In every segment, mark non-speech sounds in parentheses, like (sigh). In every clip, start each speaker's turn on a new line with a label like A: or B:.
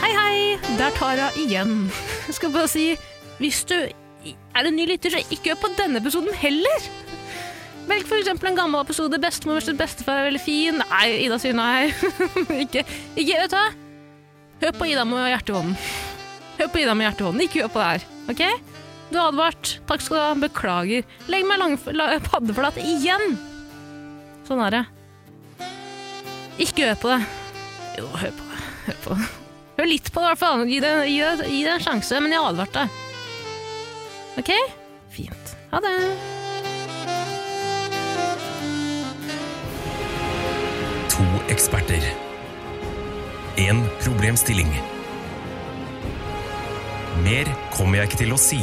A: Hei, hei! Det er Tara igjen. Jeg skal bare si hvis du er en ny lytter, så ikke hør på denne episoden heller. Velg f.eks. en gammel episode. 'Bestemor versus bestefar er veldig fin'. Nei, Ida sier nei. (laughs) ikke, ikke, vet du hva? Hør på Ida med hjertevånden. Hør på Ida med hjertevånden. Ikke hør på det her. ok? Du er advart. Takk skal du ha. Beklager. Legg meg lang, la, paddeflat igjen. Sånn er det. Ikke hør på det. Jo, hør på det. Hør på det. Hør litt på det, i hvert fall. Gi det, gi, det, gi det en sjanse, men jeg advarte. OK? Fint. Ha det.
B: To eksperter. En problemstilling. Mer kommer jeg ikke til å si,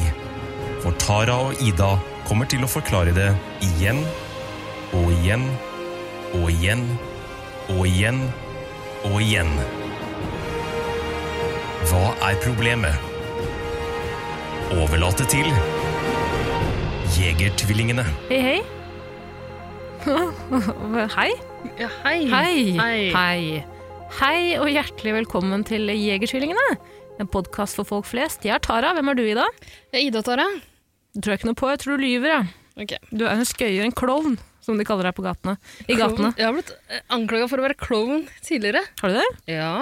B: for Tara og Ida kommer til å forklare det igjen og igjen og igjen og igjen og igjen. Hva er problemet? Overlate til Jegertvillingene.
A: Hei, hei. (laughs) Hei.
C: Ja, hei.
A: Hei.
C: Hei.
A: Hei. Hei, og hjertelig velkommen til Jegertvillingene. En podkast for folk flest. Jeg er Tara. Hvem er du, Ida?
C: Det er Ida, Tara.
A: Du tror jeg ikke noe på. Jeg tror du lyver, jeg.
C: Ok.
A: Du er en skøyer, en klovn, som de kaller deg på gatene. I gatene.
C: Klovn. Jeg har blitt anklaga for å være klovn tidligere.
A: Har du det?
C: Ja.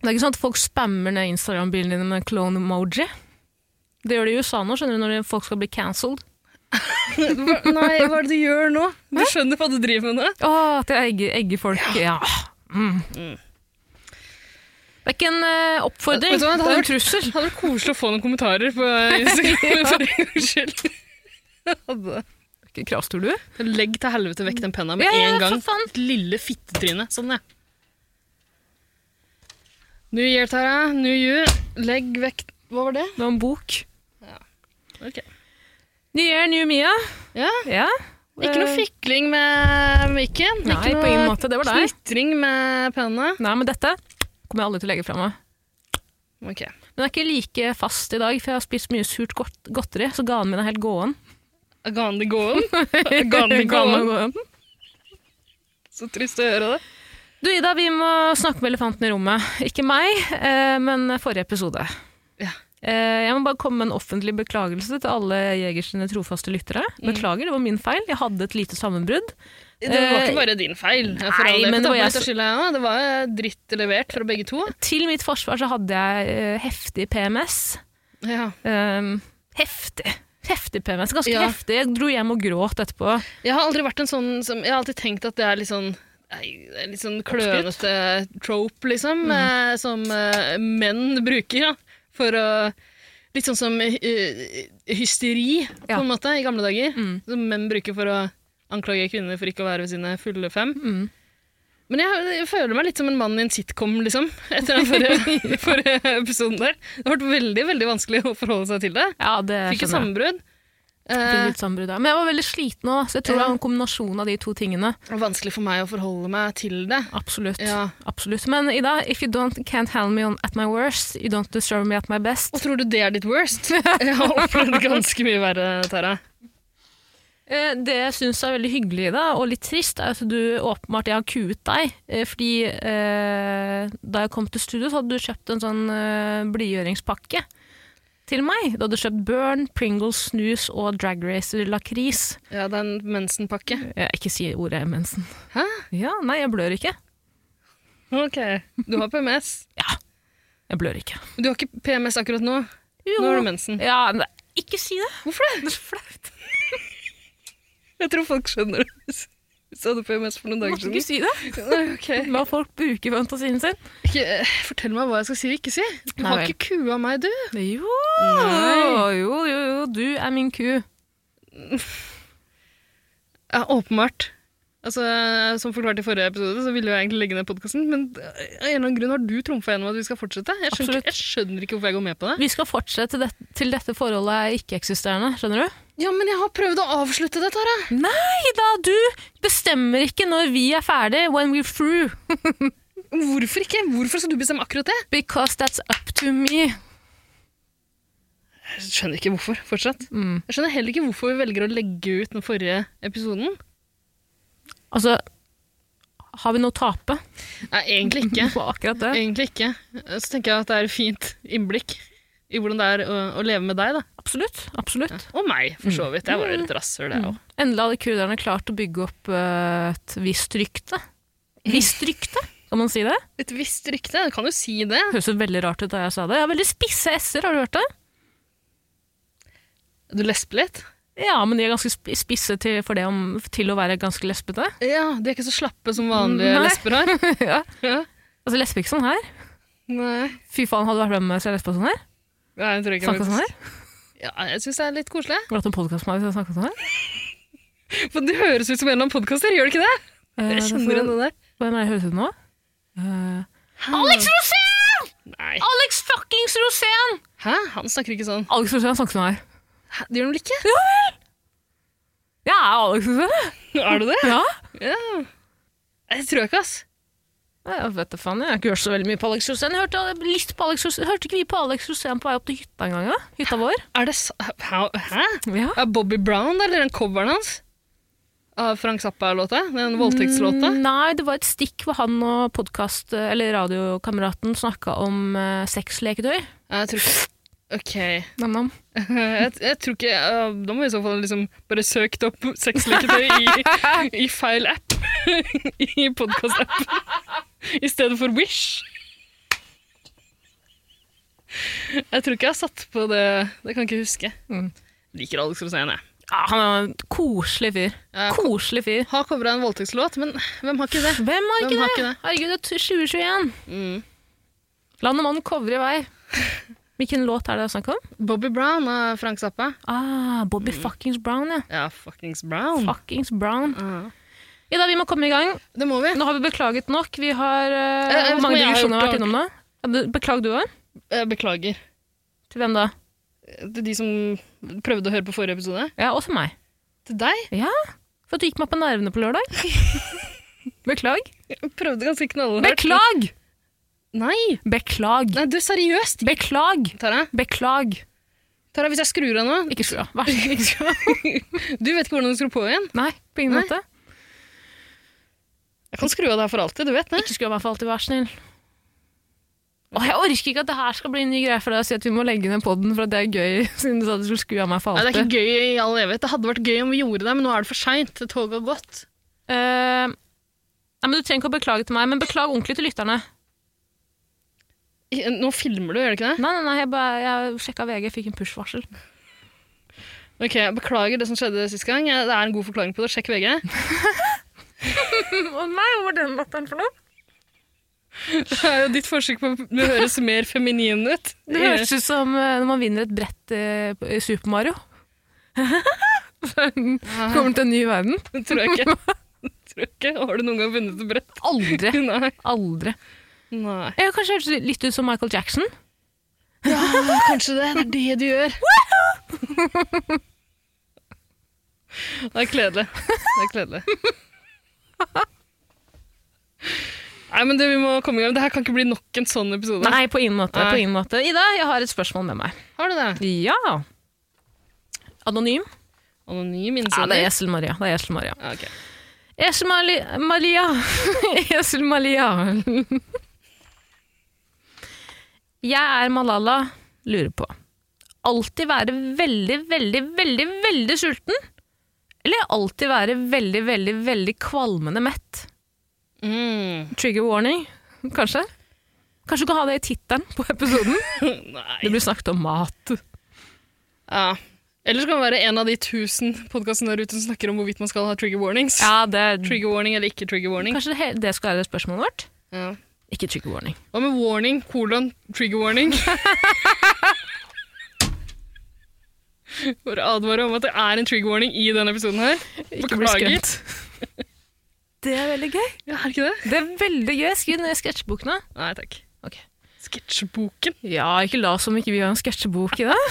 A: Det er ikke sånn at folk spammer ned Instagram-bildene dine med clone-emoji. Det gjør de i USA nå, skjønner du, når folk skal bli cancelled.
C: Hva- Nei, hva er det du gjør nå? Du skjønner hva du driver med nå?
A: Å, at jeg egger, egger folk. Ja. Mm. Det er ikke en eh, oppfordring,
C: Vet du hva, det
A: det er
C: hadde
A: en trussel.
C: Det hadde vært koselig å få noen kommentarer på (laughs) Instagram for en gangs skyld. Hadde.
A: Ikke Kravstor du?
C: Legg til helvete vekk den penna med
A: Ja, ja,
C: en
A: for
C: gang.
A: faen.
C: Ditt lille fittetryne. Sånn, ja. New year, Tara. New year. Legg vekk Hva var det?
A: Det var en bok.
C: Ok.
A: New Year, New Mia.
C: Ja.
A: Ja.
C: Ikke noe fikling med mikken.
A: Nei,
C: ikke noe
A: på ingen måte. Det var deg.
C: Knitring med penna.
A: Nei, men dette kommer jeg aldri til å legge fra meg.
C: Ok.
A: Den er ikke like fast i dag, for jeg har spist mye surt godt godteri, så ganen min er helt
C: (laughs)
A: gåen.
C: Gandhi
A: (laughs)
C: gåen. Gandhi gåen.
A: gåen.
C: Så trist å høre det.
A: Du Ida, vi må snakke med elefanten i rommet. Ikke meg, eh, men forrige episode.
C: Ja.
A: Eh, Jeg må bare komme med en offentlig beklagelse til alle Jegers sine trofaste lyttere.
C: Mm.
A: Beklager, det var min feil. Jeg hadde et lite sammenbrudd.
C: Det var
A: Eh,
C: ikke bare din feil. for
A: nei,
C: all del.
A: men det
C: Ta
A: var
C: meg
A: jeg
C: litt av
A: som-
C: skylda, ja. det var dritt levert fra begge to.
A: Til mitt forsvar så hadde jeg eh, heftig PMS.
C: Ja.
A: Eh, Heftig. Heftig PMS. Ganske
C: Ja.
A: heftig. Jeg dro hjem og gråt etterpå.
C: Jeg har aldri vært en sånn som Jeg har alltid tenkt at det er litt sånn nei, det er Litt sånn klønete trope, liksom,
A: Mhm.
C: eh, som eh, menn bruker. Ja, for å Litt sånn som eh, hysteri, på
A: Ja.
C: en måte, i gamle dager.
A: Mm.
C: Som menn bruker for å anklage kvinner for ikke å være ved sine fulle fem.
A: Mm.
C: Men jeg, jeg føler meg litt som en mann i en sitcom, liksom, etter
A: (laughs)
C: den forrige, forrige episoden der. Det har vært veldig veldig vanskelig å forholde seg til det.
A: Ja, det
C: Fikk
A: skjønner jeg.
C: et sammenbrudd.
A: Fikk
C: Eh,
A: litt sammenbrudd, ja. Men jeg var veldig sliten òg, så jeg tror det var en kombinasjon av de to tingene.
C: det var vanskelig for meg å forholde meg til det.
A: Absolutt.
C: Ja.
A: Absolutt. Men Ida, if you don't, can't handle me on, at my worst, you don't deserve me at my best.
C: Og tror du det er ditt worst? (laughs) Jeg har opplevd ganske mye verre, Tara.
A: Eh, Det jeg syns er veldig hyggelig, Ida, og litt trist, er at du åpenbart jeg har kuet deg. eh, Fordi eh, da jeg kom til studio, så hadde du kjøpt en sånn eh, blidgjøringspakke til meg. Du hadde kjøpt Burn, Pringles, Snus og Drag Racer lakris.
C: Ja, det er en mensenpakke.
A: Eh, Ikke si ordet mensen.
C: Hæ?
A: Ja, nei, jeg blør ikke.
C: Ok, du har PMS.
A: Jeg blør ikke.
C: Men Du har ikke PMS akkurat nå. Nå har du mensen.
A: Ja, men det- ikke si det!
C: Hvorfor det?
A: Det er så flaut.
C: Jeg tror folk skjønner det. hvis- Hvis du hadde PMS for noen
A: Du
C: dager
A: måtte ikke
C: siden.
A: si det.
C: Nei, ok.
A: La folk bruke fantasien sin.
C: Ikke, eh, fortell meg hva jeg skal si og ikke si. Du
A: Nei
C: har
A: vel.
C: ikke kua meg, du.
A: Jo,
C: Nei.
A: jo, jo, jo, du er min ku.
C: Ja, åpenbart. Altså, som forklart i forrige episode, så ville jeg egentlig legge ned podkasten, men eh, av en eller annen grunn har du trumfa gjennom at vi skal fortsette. Jeg skjønner,
A: Absolutt.
C: jeg skjønner ikke hvorfor jeg går med på det.
A: Vi skal fortsette det, til dette forholdet er ikke-eksisterende, skjønner du?
C: Ja, men jeg har prøvd å avslutte det, Tara.
A: Ida, du bestemmer ikke når vi er ferdig, when we're through.
C: Hvorfor ikke? Hvorfor skal du bestemme akkurat det?
A: Because that's up to me.
C: Jeg skjønner ikke hvorfor, fortsatt.
A: Mm.
C: Jeg skjønner heller ikke hvorfor vi velger å legge ut den forrige episoden.
A: Altså, Har vi noe å tape
C: Nei, egentlig
A: (laughs)
C: ikke.
A: på akkurat det?
C: Egentlig ikke. Så tenker jeg at det er et fint innblikk i hvordan det er å, å leve med deg, da.
A: Absolutt. absolutt.
C: Og meg, for
A: Mm.
C: så vidt. Jeg var jo et rasshøl, jeg òg.
A: Endelig hadde kurderne klart å bygge opp eh, et visst rykte. Visst rykte, kan man si det?
C: Et visst rykte, du kan jo si det.
A: Høres jo veldig rart ut da jeg sa det. Jeg har veldig spisse s-er, har du hørt det?
C: Du lesper litt?
A: Ja, men de er ganske sp- spisse til, for det om, til å være ganske lesbete.
C: Ja, de er ikke så slappe som vanlige
A: Nei. (laughs)
C: lesber har.
A: ja.
C: Ja.
A: Altså, lesber ikke sånn her.
C: Nei,
A: Fy faen, hadde du vært med meg hvis jeg lesba sånn her?
C: Nei, jeg tror ikke
A: Snakka sånn her?
C: Ja, jeg syns det er litt koselig.
A: Skulle hatt en podkast med meg hvis jeg snakka sånn her?
C: For det høres ut som en eller annen podkaster, gjør det ikke det?
A: Eh,
C: Jeg kjenner igjen
A: derfor-
C: det der.
A: Hvem er det jeg høres ut nå? Eh,
C: Nei.
A: Alex fuckings Rosén!
C: Hæ? Han snakker ikke sånn.
A: Alex Rosén snakker sånn her.
C: Hæ? Det gjør han vel ikke? (laughs)
A: Jeg er Alex Rosén,
C: Er du det?
A: (laughs) ja.
C: Ja. Jeg tror ikke, ass.
A: Jeg vet da faen, jeg har ikke hørt så veldig mye på Alex Rosén. Jeg Hørte, litt på Alex Rosén. Hørte ikke vi på Alex Rosén på vei opp til hytta en gang? da? Hytta vår?
C: Er det sa... Hæ? Hæ?
A: Ja.
C: Er Bobby Brown, da, eller den coveren hans? Av Frank Zappa-låta? Den voldtektslåta?
A: Mm, Nei, det var et stikk hvor han og podcast, eller radiokameraten snakka om eh, sexleketøy.
C: Jeg tror ikke Ok.
A: Nam, nam.
C: Eh, Jeg, jeg tror ikke øh, Da må vi i så fall liksom bare søkt opp sexleketøy i, i feil app. (laughs) I podkast-appen. I stedet for Wish. Jeg tror ikke jeg har satt på det. Det kan jeg ikke huske.
A: Mm.
C: Liker Alex Rosén, jeg.
A: Ja, han er en koselig fyr.
C: Ja.
A: Koselig fyr.
C: Har covra en voldtektslåt, men hvem har ikke det?
A: Hvem har ikke
C: Hvem har
A: det?
C: ikke det?
A: Herregud, det er 2021.
C: Mm.
A: Land og mann covrer i vei. Hvilken låt er det det er snakk om?
C: Bobby Brown av Frank Zappa.
A: Ah, Bobby
C: Mm.
A: fuckings Brown, ja.
C: Ja, fuckings Brown.
A: Fuckings Brown.
C: Ja.
A: Ida, vi må komme i gang.
C: Det må vi.
A: Nå har vi beklaget nok. Vi har eh,
C: jeg vet
A: Hvor
C: ikke om
A: mange
C: jeg har
A: digresjoner har
C: gjort
A: vært innom nå? Ja, du- Beklag du òg?
C: Jeg beklager.
A: Til hvem da?
C: Til de som prøvde å høre på forrige episode.
A: Ja, også meg.
C: Til deg.
A: Ja, for at du gikk meg på nervene på
C: (laughs)
A: lørdag. Beklag.
C: Jeg prøvde ganske knallhardt.
A: Beklag!
C: Nei!
A: Beklag.
C: Nei, du, seriøst!
A: Beklag.
C: Tara,
A: Beklag.
C: Tara, hvis jeg skrur av nå
A: Ikke skru av. Vær så snill, ikke skru av.
C: Du vet ikke (laughs) hvordan du skrur på igjen.
A: Nei, på ingen
C: Nei.
A: måte.
C: Jeg kan skru av det her for alltid, du vet det.
A: Ikke skru av meg for alltid, vær så snill. Åh, jeg orker ikke at det her skal bli en ny greie for deg å si at vi må legge ned podden for at det er gøy, (laughs) siden du sa at du skulle skru av meg for
C: Nei, det er
A: alltid.
C: ikke gøy i all evighet. Det hadde vært gøy om vi gjorde det, men nå er det for seint. Toget har gått.
A: Eh, nei, men Du trenger ikke å beklage til meg, men beklag ordentlig til lytterne.
C: I- Nå filmer du, gjør du ikke det?
A: Nei, nei, nei, jeg, bare- jeg sjekka VG, fikk en push-varsel.
C: Ok, jeg Beklager det som skjedde sist gang. Jeg- Det er en god forklaring på det. Sjekk VG.
A: (laughs) Å nei, hva var den latteren for noe?
C: (laughs) Det er jo ditt forsøk på å høres mer feminin ut.
A: Det høres ut som eh, når man vinner et brett eh, i Super Mario.
C: Nei,
A: Kommer til en ny verden.
C: det (laughs) tror jeg ikke. Det Tror jeg ikke. Har du noen gang vunnet et brett?
A: Aldri.
C: Nei.
A: Aldri.
C: Nei.
A: Jeg kanskje hørtes litt ut som Michael Jackson.
C: Ja, kanskje det. Det er det du gjør. Det er kledelig. Det er kledelig. Nei, men det, vi må komme i gang. Det her kan ikke bli nok en sånn episode.
A: Nei, på ingen måte.
C: Nei.
A: På ingen måte. Ida, jeg har et spørsmål med meg.
C: Har du det?
A: Ja. Anonym?
C: Anonym
A: Ja, det
C: innsender.
A: er Esel Maria. Det er Esel Maria.
C: Ja, ok.
A: Esel Mali Maria. (laughs) Esel Malia. Jeg er Malala, lurer på. Alltid være veldig, veldig, veldig, veldig sulten? Eller alltid være veldig, veldig, veldig kvalmende mett?
C: Mm. (laughs)
A: Trigger warning, kanskje? Kanskje du kan ha det i tittelen på episoden? Det
C: Nei.
A: blir snakket om mat.
C: Ja. Eller så kan det være en av de tusen podkastene der ute som snakker om hvorvidt man skal ha trigger warnings.
A: Ja, det er...
C: Trigger warning eller ikke trigger warning.
A: Kanskje det, he- det skal være spørsmålet vårt?
C: Ja.
A: Ikke trigger warning.
C: Hva med warning, kolon, trigger
A: (laughs)
C: warning? For å advare om at det er en trigger warning i denne episoden her.
A: Ikke bli
C: Beklager.
A: skremt. Det er veldig gøy.
C: Ja, er det ikke det?
A: Det er veldig gøy. Skriv ned i sketsjbokene.
C: Nei takk.
A: Ok.
C: Sketsjboken.
A: Ja, ikke (laughs) la som ikke vi har en sketsjebok i det.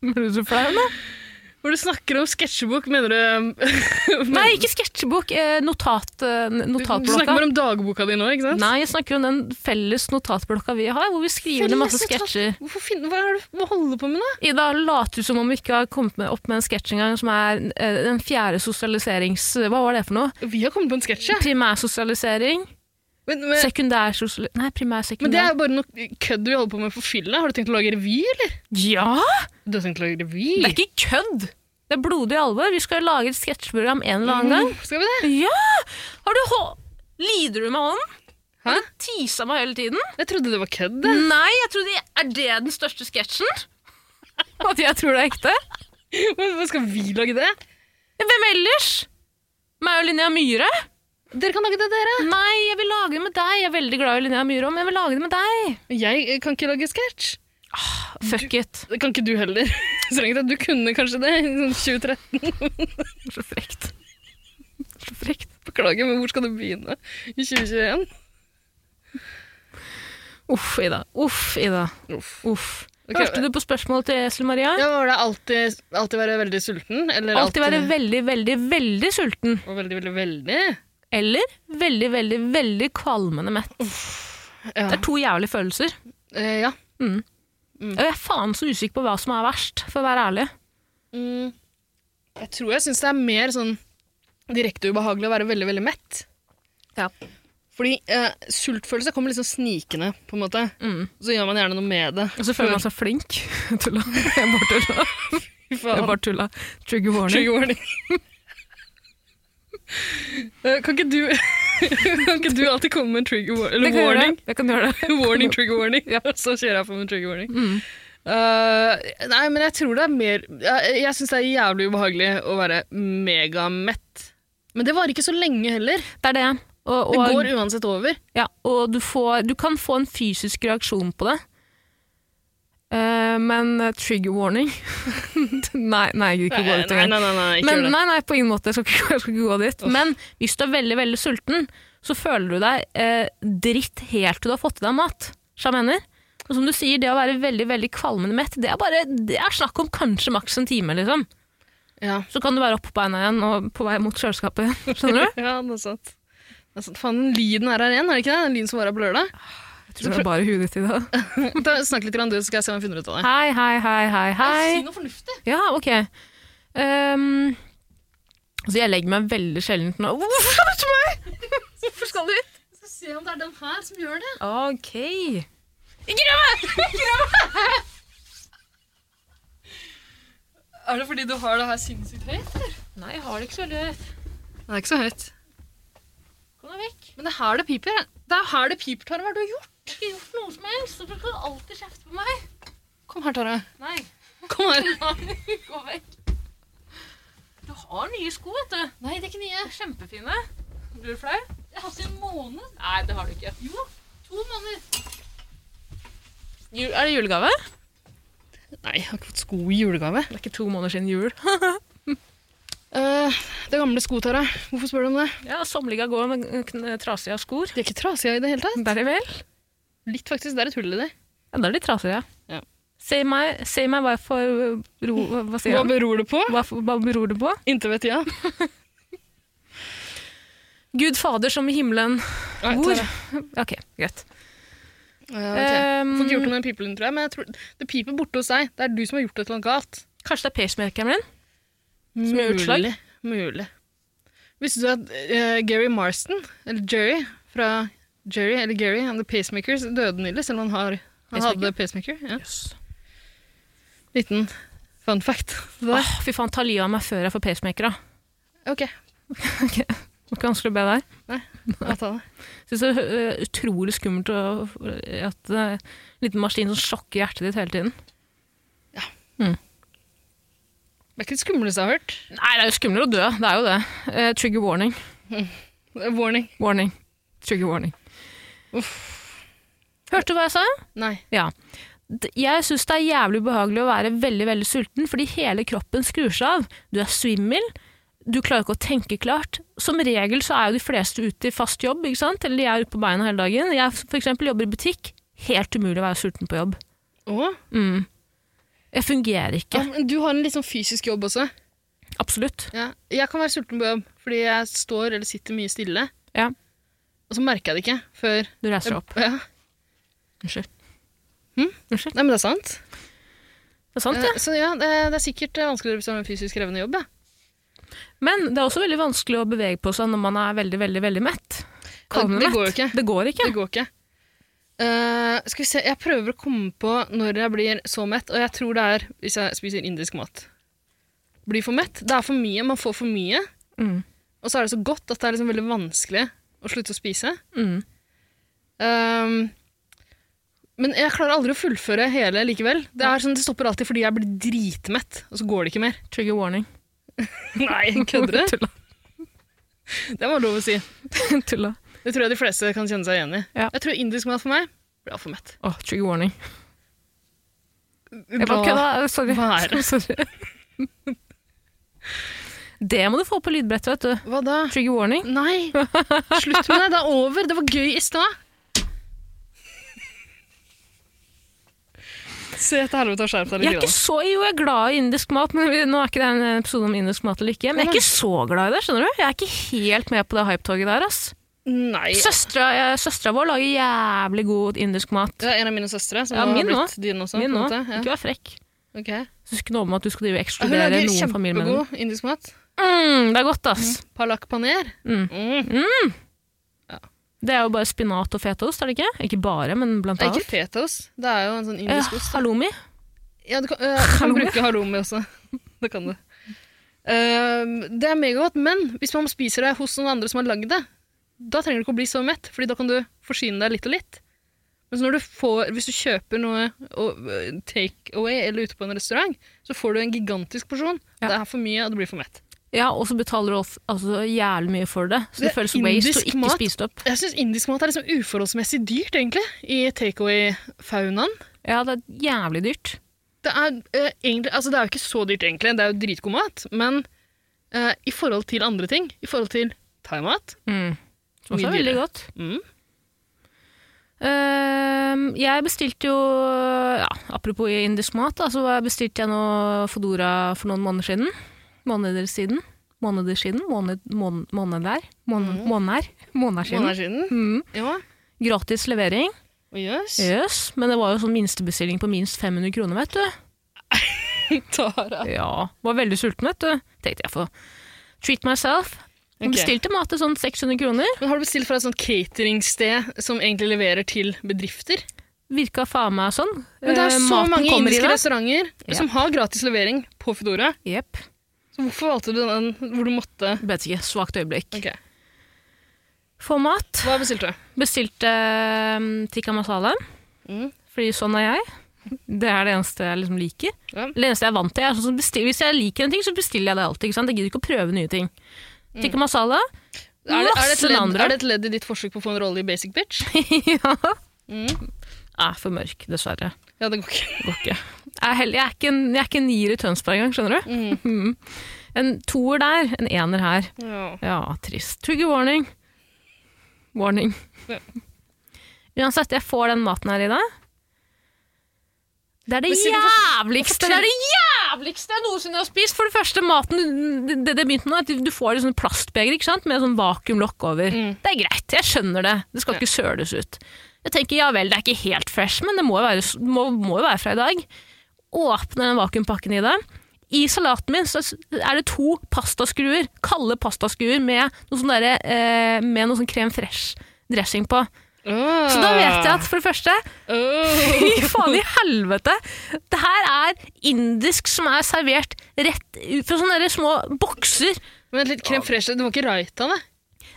A: Blir du så flau nå?
C: Når du snakker om sketsjebok, mener (laughs) du um,
A: Nei, ikke sketsjebok. eh, Notat, eh,
C: Du, du snakker
A: notatblokka.
C: bare om dagboka di nå, ikke sant?
A: Nei, jeg snakker om den felles notatblokka vi har, hvor vi skriver ned masse
C: Felles notat-
A: sketsjer.
C: Hvorfor finner, Hva er det du holder på med, da?
A: Ida later som om vi ikke har kommet med, opp med en sketsj engang, som er eh, den fjerde sosialiserings... Hva var det for noe?
C: Vi har kommet på en sketsj, ja.
A: Primærsosialisering?
C: Men, men,
A: Sekundærsosialisering Nei, primær,
C: men
A: sekundær.
C: det er jo bare noe kødd vi holder på med for fylla. Har du tenkt å lage revy, eller?
A: Ja!
C: Du har tenkt å lage revy?
A: Det er ikke kødd! Det er blodig alvor. Vi skal lage et sketsjprogram en eller annen gang.
C: Mm, Skal vi det?
A: Ja! Har du hå... Lider du med hånden?
C: Hæ?
A: Har du tisa meg hele tiden?
C: Jeg trodde det var kødd. jeg.
A: Nei, jeg trodde Er det den største sketsjen? (laughs) At jeg tror det er ekte? Mm.
C: Men (laughs) hva Skal vi lage det?
A: Hvem ellers? Meg og Linnea Myhre?
C: Dere kan lage det, dere.
A: Nei, jeg vil lage det med deg. Jeg er veldig glad i Linnea Myhre, men jeg vil lage det med deg.
C: Jeg eh, kan ikke lage sketsj.
A: Fuck it.
C: Det kan ikke du heller. (laughs) Strengt tatt, du kunne kanskje det (laughs) i sånn 2013.
A: Så frekt. Så frekt.
C: Beklager, men hvor skal du begynne i 2021?
A: Uff, Ida. Uff, Ida.
C: Uff.
A: Uff.
C: Ok,
A: Hørte du på spørsmålet til Esel Maria?
C: Ja, var det alltid, alltid være veldig sulten? Eller
A: Alltid være veldig, veldig, veldig sulten.
C: og veldig, veldig, veldig?
A: Eller veldig, veldig, veldig kvalmende mett.
C: Ja.
A: Det er to jævlige følelser.
C: Eh, ja.
A: Og jeg er faen så usikker på hva som er verst, for å være ærlig.
C: Mm. Jeg tror jeg syns det er mer sånn direkte ubehagelig å være veldig, veldig mett.
A: Ja.
C: Fordi eh, sultfølelse kommer liksom snikende, på en måte.
A: Mm.
C: Og så gjør man gjerne noe med det.
A: Og så føler man seg flink. (laughs) Tulla. Jeg bare tulla.
C: Fy
A: Jeg
C: faen.
A: bare tulla. Trigger warning.
C: Trigger warning. Eh, kan ikke du (laughs) Kan ikke du alltid komme med en trigger war eller
A: Det kan gjøre
C: warning?
A: det. Mm. Jeg kan gjøre det.
C: Warning, trigger warning. Og (laughs) Så kjører jeg på med trigger warning. Eh, nei, men jeg tror det er mer Jeg, jeg syns det er jævlig ubehagelig å være megamett. Men det varer ikke så lenge heller.
A: Det er det. Og,
C: Det
A: og,
C: går uansett over.
A: Ja, og du, får, du kan få en fysisk reaksjon på det. Eh, men eh, trigger warning (laughs) Nei, nei, jeg gidder ikke gå dit
C: nei,
A: engang.
C: nei, nei, nei, ikke
A: Men
C: gjør det.
A: nei, nei, på ingen måte. Jeg skal ikke, jeg skal ikke gå dit. Men hvis du er veldig veldig sulten, så føler du deg eh, dritt helt til du har fått i deg mat. Så jeg mener. Og som du sier, det å være veldig veldig kvalmende mett, det er, bare, det er snakk om kanskje maks en time. liksom.
C: Ja.
A: Så kan du være opp på beina igjen og på vei mot (laughs) kjøleskapet. Skjønner du?
C: ja, det er sant. Det er sant. Faen, den lyden er her igjen, er det ikke det? Den lyden som var her på
A: (laughs)
C: lørdag.
A: Jeg tror det er bare huet ditt i dag.
C: Ta, snakk litt, grann, du, så skal jeg se om jeg finner ut av det.
A: (laughs) Hei, hei, hei, hei, hei.
C: noe fornuftig.
A: Ja, ok. Ehm, altså jeg legger meg veldig sjeldent nå. Hvorfor skal du til meg? Hvorfor skal du hit?
C: Jeg skal se om det er den her som gjør det.
A: Ok. Ikke rør meg! Ikke rør meg!
C: Er det fordi du har det her sinnssykt høyt?
A: Nei, jeg har det ikke så veldig høyt.
C: Det er ikke så høyt.
A: Kom deg vekk.
C: Men det er her det piper. Det er her det piper, Tara. Hva er det du har gjort?
A: Jeg har ikke gjort noe som helst, og du kan alltid kjefte på meg.
C: Kom her, Tara.
A: Nei,
C: Kom her.
A: nei, gå vekk. Du har nye sko, vet du.
C: Nei, det er ikke nye.
A: Kjempefine. Blir du flau?
C: Jeg har hatt en måned.
A: Nei, det har du ikke.
C: Jo, to måneder.
A: Ju- Er det julegave?
C: Nei, jeg har ikke fått sko i julegave.
A: Det er ikke to måneder siden jul. (laughs)
C: Eh, det er gamle sko, Tara. Hvorfor spør du om det?
A: ja, sommerliga går med kn- trasige skor.
C: De er ikke trasige i det hele tatt.
A: Der er vel.
C: Litt, faktisk. Det er et hull i det.
A: Ja, da er de trasige.
C: Ja.
A: Si meg, si meg hva, jeg får ro, hva sier
C: Hva
A: han?
C: beror det på?
A: Hva, f- hva beror det på?
C: Inntil vet jeg.
A: Gud fader som i himmelen.
C: Nei,
A: Hvor?
C: Tara.
A: Ok, greit.
C: Ja, ok.
A: Ehm,
C: Får ikke gjort noe med pipelen, tror jeg, men jeg tror det piper borte hos deg. Det er du som har gjort et eller annet galt.
A: Kanskje det er pacemakeren min? Som gjør utslag?
C: Mulig. Mulig. Visste du at eh, Gary Marston, eller Jerry, fra Jerry eller Gary and the Pacemakers, døde nylig, selv om han, har, han
A: Pacemaker?
C: hadde pacemaker? Ja.
A: Yes.
C: Liten fun fact. (laughs)
A: Åh, fy faen, ta livet av meg før jeg får pacemaker. da.
C: Ok,
A: Det var ikke vanskelig å be der.
C: jeg tar det.
A: Synes det er øh, utrolig skummelt å, eh, at det er en liten maskin som sjokker hjertet ditt hele tiden.
C: Det er ikke det skumleste jeg har hørt.
A: Nei, det er jo skumlere å dø. Det er jo det. Eh, trigger warning.
C: Det er Eh, Warning.
A: Warning. Trigger warning. Hørte du hva jeg sa?
C: Nei.
A: Ja. D- Jeg syns det er jævlig ubehagelig å være veldig veldig sulten, fordi hele kroppen skrur seg av. Du er svimmel, du klarer ikke å tenke klart. Som regel så er jo de fleste ute i fast jobb, ikke sant? eller de er ute på beina hele dagen. Jeg for eksempel jobber i butikk. Helt umulig å være sulten på jobb.
C: Å?
A: Mm. Jeg fungerer
C: Ja,
A: ikke.
C: men du har en litt sånn fysisk jobb også.
A: Absolutt.
C: Ja. Jeg kan være sulten på jobb, fordi jeg står eller sitter mye stille.
A: Ja.
C: Og så merker jeg det ikke før
A: Du reiser deg opp.
C: Ja.
A: Unnskyld.
C: Hm?
A: Unnskyld.
C: Nei, men det er sant.
A: Det er sant,
C: Eh, Så ja, det det er sikkert eh, vanskeligere hvis du har en fysisk krevende jobb. Ja.
A: Men det er også veldig vanskelig å bevege på seg når man er veldig, veldig, veldig mett. Kall meg
C: det
A: mett.
C: går jo ikke.
A: Det går ikke.
C: Det går ikke. Eh, skal vi se, Jeg prøver å komme på når jeg blir så mett, og jeg tror det er hvis jeg spiser indisk mat. Blir for mett. Det er for mye. Man får for mye.
A: Mm.
C: Og så er det så godt at det er liksom veldig vanskelig å slutte å spise.
A: Mm.
C: Ehm, men jeg klarer aldri å fullføre hele likevel. Det, er sånn, det stopper alltid fordi jeg blir dritmett, og så går det ikke mer. (laughs)
A: Trigger warning.
C: Nei, kødder du?
A: (laughs) Tulla.
C: Det var lov å si.
A: Tulla.
C: Det tror jeg de fleste kan kjenne seg igjen i.
A: Ja.
C: Jeg tror indisk mat for meg blir altfor mett.
A: Åh, trigger warning. Jeg
C: Hva-
A: bare kødda. Sorry.
C: hva er det?
A: (laughs) Sorry. Det må du få på lydbrettet, vet du.
C: Hva da?
A: Trigger warning.
C: Nei, slutt med det. Det er over. Det var gøy i stad. Se til helvete og skjerp deg
A: Jeg
C: litt.
A: er ikke så, jo, jeg er glad i indisk mat, men vi- nå er ikke det en episode om indisk mat eller ikke. Men jeg er ikke så glad i det, skjønner du? Jeg er ikke helt med på det hypetoget der, ass.
C: grann. Nei.
A: Søstra, eh, søstra vår lager jævlig god indisk mat.
C: Det er en av mine søstre, som
A: Ja,
C: har
A: min
C: blitt
A: også.
C: din også.
A: Min
C: på
A: nå.
C: en måte.
A: Ikke vær frekk.
C: Ja. ok.
A: Du skal ikke nå om at du skal drive og
C: Hun
A: ekskludere
C: lager
A: noen familiemedlemmer.
C: kjempegod indisk mat.
A: Mm, det er godt, ass.
C: Palak paner.
A: Mm.
C: Mm.
A: Det er jo bare spinat og fetaost, er det ikke? Ikke bare, men blant
C: Det er ikke
A: annet.
C: fetaost. Det er jo en
A: Eh,
C: sånn indisk ost.
A: halloumi.
C: Ja, du kan, (laughs) øh, du kan
A: Halloumi?
C: bruke halloumi også. (laughs) Det kan du. Ehm, det er megagodt, men hvis man spiser det hos noen andre som har lagd det, da trenger du ikke å bli så mett, Fordi da kan du forsyne deg litt og litt. Men når du får, hvis du kjøper noe og, øh, take away eller ute på en restaurant, så får du en gigantisk porsjon.
A: Ja.
C: Det er for mye, og det blir for mett.
A: Ja, og så betaler du alf- altså, jævlig mye for det. Så
C: Det
A: det,
C: er
A: føles waste å
C: indisk
A: ikke
C: mat.
A: spise det opp.
C: Jeg syns indisk mat er liksom uforholdsmessig dyrt, egentlig, i take away-faunaen.
A: Ja, det er jævlig dyrt.
C: Det er, eh, egentlig, altså det er jo ikke så dyrt, egentlig. Det er jo dritgod mat. Men eh, i forhold til andre ting, i forhold til thaimat
A: Mm. Som også
C: Mye
A: er veldig
C: dyrere.
A: godt.
C: mm.
A: Ehm, jeg bestilte jo ja, Apropos indisk mat, da, så bestilte jeg noe Fodora for noen måneder siden. Måneder siden. Måneder siden. Måned, mån, måneder. Mån, Måneder. Måneder
C: Mm. Måneder
A: siden.
C: siden.
A: Mm.
C: Ja.
A: Gratis levering.
C: Og jøss.
A: Yes. Men det var jo sånn minstebestilling på minst 500 kroner, vet du.
C: (laughs) Tara.
A: Ja, var veldig sulten, vet du. Tenkte jeg får treat myself.
C: Ok.
A: Bestilte mat til sånn 600 kroner.
C: Men har du bestilt fra et sånt catering-sted som egentlig leverer til bedrifter?
A: Virka faen meg sånn.
C: Men det er
A: Eh,
C: så
A: maten
C: mange
A: kommer i
C: indiske
A: deg.
C: restauranter
A: Ja.
C: som har gratis levering på Foodora.
A: Jepp.
C: Så hvorfor valgte du den hvor du måtte
A: Vet ikke. Svakt øyeblikk.
C: Ok,
A: Få mat.
C: Hva bestilte du?
A: Bestilte um, tikka masala,
C: Mm.
A: fordi sånn er jeg. Det er det eneste jeg liksom liker.
C: Ja.
A: Det eneste jeg er vant til. Jeg er sånn som bestill- hvis jeg liker en ting, så bestiller jeg det alltid. Ikke sant? Jeg gidder ikke å prøve nye ting.
C: Mm.
A: Tikka masala. (laughs)
C: Er det, er, det et
A: Masse
C: ledd,
A: andre.
C: er det et ledd i ditt forsøk på å få en rolle i Basic
A: (laughs)
C: Bitch?
A: ja.
C: Mm.
A: Er for mørk, dessverre.
C: Ja, det går ikke.
A: Det går ikke. Jeg er, heller, jeg er, ikke, en, jeg er ikke en nier i Tønsberg engang, skjønner du.
C: Mm.
A: (laughs) Mm. En toer der, en ener her.
C: Ja.
A: Ja, trist. Trigger warning. Warning.
C: Ja.
A: Uansett, jeg får den maten her i dag. Det er det
C: Men Silje,
A: jævligste
C: fortell-
A: Det er det jævligste jeg noensinne har spist! For det første, maten Det, det begynte med at du får et sånt plastbeger ikke sant? med sånn vakuumlokk over.
C: Mm.
A: Det er greit, jeg skjønner det. Det skal
C: Ja.
A: ikke søles ut. Jeg tenker ja vel, det er ikke helt fresh, men det må jo være, må, må jo være fra i dag. Åpner den vakuumpakken i det. I salaten min så er det to pastaskruer, kalde pastaskruer med noe sånn, derre, eh, med noe sånn krem fresh dressing på. Så da
C: Ah.
A: vet jeg at for det første
C: Åh.
A: Fy faen i helvete! Det her er indisk som er servert rett ut fra sånne der små bokser.
C: Vent litt, krem fresh, det var ikke raita, det?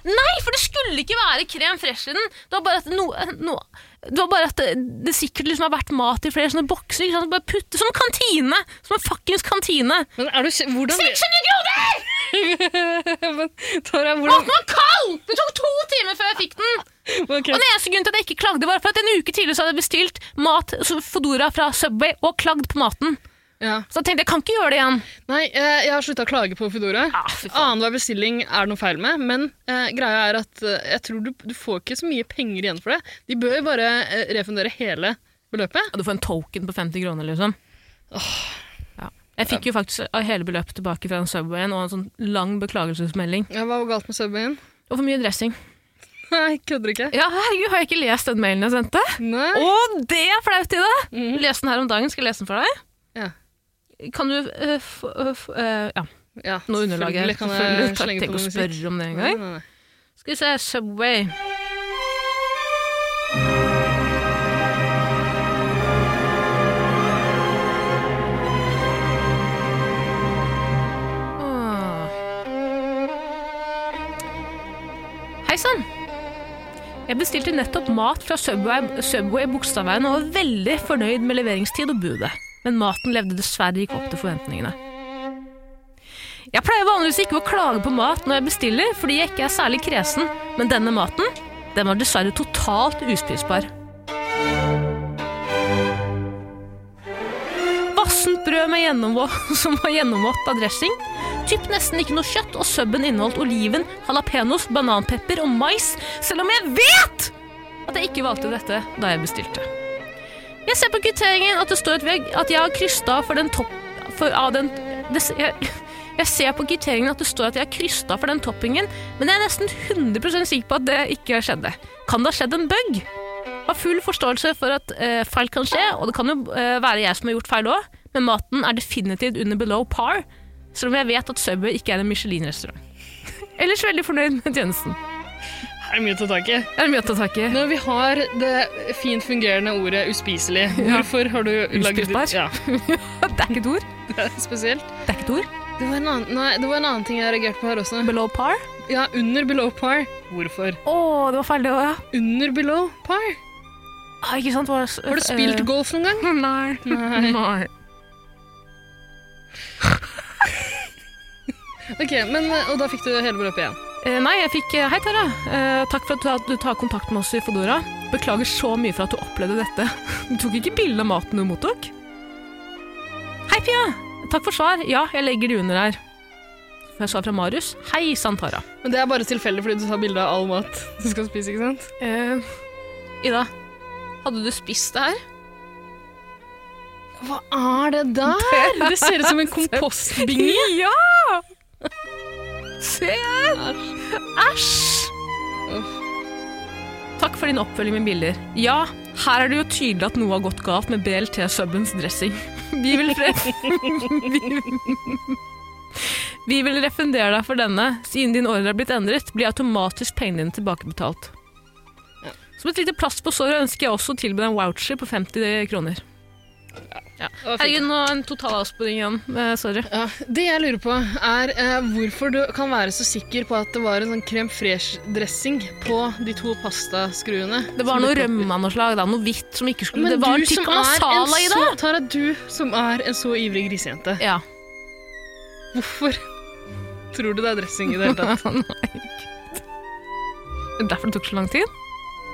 A: Nei, for det skulle ikke være krem fresh i den! Det var bare at, no, no, det, var bare at det, det sikkert liksom har vært mat i flere sånne bokser. Ikke sant? Bare putte, som kantine! Som en fuckings kantine!
C: Men er du kje- hvordan
A: 600 kroner!
C: (laughs) Men Tara, hvordan
A: Maten var kald! Det tok to timer før jeg fikk den!
C: Ok,
A: Og den eneste grunnen til at jeg ikke klagde, var for at en uke tidligere så hadde jeg bestilt mat så Foodora fra Subway og klagd på maten.
C: ja.
A: Så jeg tenkte jeg kan ikke gjøre det igjen.
C: Nei, eh, jeg har slutta å klage på Foodora.
A: Ah, fy faen.
C: Annenhver bestilling er det noe feil med, men eh, greia er at eh, jeg tror du, du får ikke så mye penger igjen for det. De bør bare eh, refundere hele beløpet.
A: Ja, Du får en token på 50 kroner, liksom. Jeg fikk jo faktisk av hele beløpet tilbake fra den Subwayen og en sånn lang beklagelsesmelding.
C: Ja, hva var galt med Subwayen? (laughs)
A: Og for mye dressing.
C: Nei, kødder ikke.
A: Ja, herregud, har jeg ikke lest den mailen jeg sendte?
C: Nei. Mm. Mhm.
A: Å, det er flaut, Ida! Les den her om dagen. Skal jeg lese den for deg?
C: Ja.
A: Kan du øh, f, øh, f, øh, Ja,
C: ja,
A: nå underlager jeg.
C: selvfølgelig kan
A: Selvfølgelig.
C: jeg
A: Takk,
C: slenge
A: Tenk
C: på
A: å
C: noe musikk.
A: spørre om det
C: Nei,
A: engang.
C: nei, nei.
A: Skal vi se Subway. Åh. Hei sann! Jeg bestilte nettopp mat fra Subway, Subway Bogstadveien og var veldig fornøyd med leveringstid og budet. Men maten levde dessverre ikke opp til forventningene. Jeg pleier vanligvis ikke å klage på mat når jeg bestiller, fordi jeg ikke er særlig kresen, men denne maten, den var dessverre totalt uspisbar. Vassent brød med gjennomvå- (laughs) som var gjennomvått av dressing, typ nesten ikke noe kjøtt, og subben inneholdt oliven, jalapenos, bananpepper og mais, selv om jeg vet at jeg ikke valgte dette da jeg bestilte. Jeg ser på kvitteringen at det står at, vi har, at jeg har krysset av for den topp... For, av den, det, jeg, jeg ser på kvitteringen at det står at jeg har krysset av for den toppingen, men jeg er nesten 100 sikker på at det ikke skjedde. Kan det ha skjedd en bug? Har full forståelse for at eh, feil kan skje, og det kan jo eh, være jeg som har gjort feil òg, men maten er definitivt under below par, selv om jeg vet at Subway ikke er en Michelin-restaurant. (laughs) Ellers veldig fornøyd med tjenesten.
C: Det er mye å ta tak i.
A: Det er mye å ta tak i.
C: Når vi har det fint fungerende ordet uspiselig, hvorfor har du laget
A: Uspisbar?
C: Ja,
A: (laughs)
C: (laughs)
A: Det er ikke et ord.
C: det er spesielt.
A: Det er ikke et ord.
C: Det var, en annen, nei, det var en annen ting jeg reagerte på her også.
A: Below par.
C: Ja, under below par. Hvorfor?
A: Å, det var feil, det òg, ja.
C: Under below par?
A: Ah, ikke sant? Var det,
C: Har du spilt
A: eh,
C: golf noen gang?
A: Nei.
C: Nei.
A: Nei.
C: (laughs) Ok, men, eh, Og da fikk du hele beløpet igjen.
A: Eh, Nei, jeg fikk eh, Hei, Tara. Eh, takk for at du tar kontakt med oss i Fodora. Beklager så mye for at du opplevde dette. (laughs) Du tok ikke bilde av maten du mottok? Hei, Pia. Takk for svar. Ja, jeg legger det under her. For jeg sa fra Marius. Hei sann, Tara.
C: Men det er bare tilfeldig fordi du tar bilde av all mat du skal spise, ikke sant?
A: Eh, Ida, hadde du spist det her?
C: Hva er det der? (laughs) Det ser ut som en kompostbinge.
A: Ja! Se her! Æsj! Takk for din oppfølging med bilder. Ja, her er det jo tydelig at noe har gått galt med BLT-subbens dressing. Vi vil, re (laughs) Vi- Vi vil refundere deg for denne. Siden din ordre er blitt endret, blir automatisk pengene dine tilbakebetalt. Som et lite plaster på såret ønsker jeg også å tilby deg en voucher på 50 kroner.
C: Å, fy.
A: Herregud, nå en totalavsporing igjen. Eh, sorry.
C: Ja, det jeg lurer på, er eh, hvorfor du kan være så sikker på at det var en sånn crème fraîche-dressing på de to pastaskruene.
A: Det var
C: som
A: noe
C: du-
A: rømme av noe slag, da. noe hvitt som ikke skulle
C: Men
A: Det var
C: du
A: tikka
C: som er en
A: masala i det!
C: så, Tara, du som er en så ivrig grisejente,
A: Ja. (laughs)
C: hvorfor tror du det er dressing i det hele
A: (laughs)
C: tatt?
A: Det er Derfor det tok så lang tid?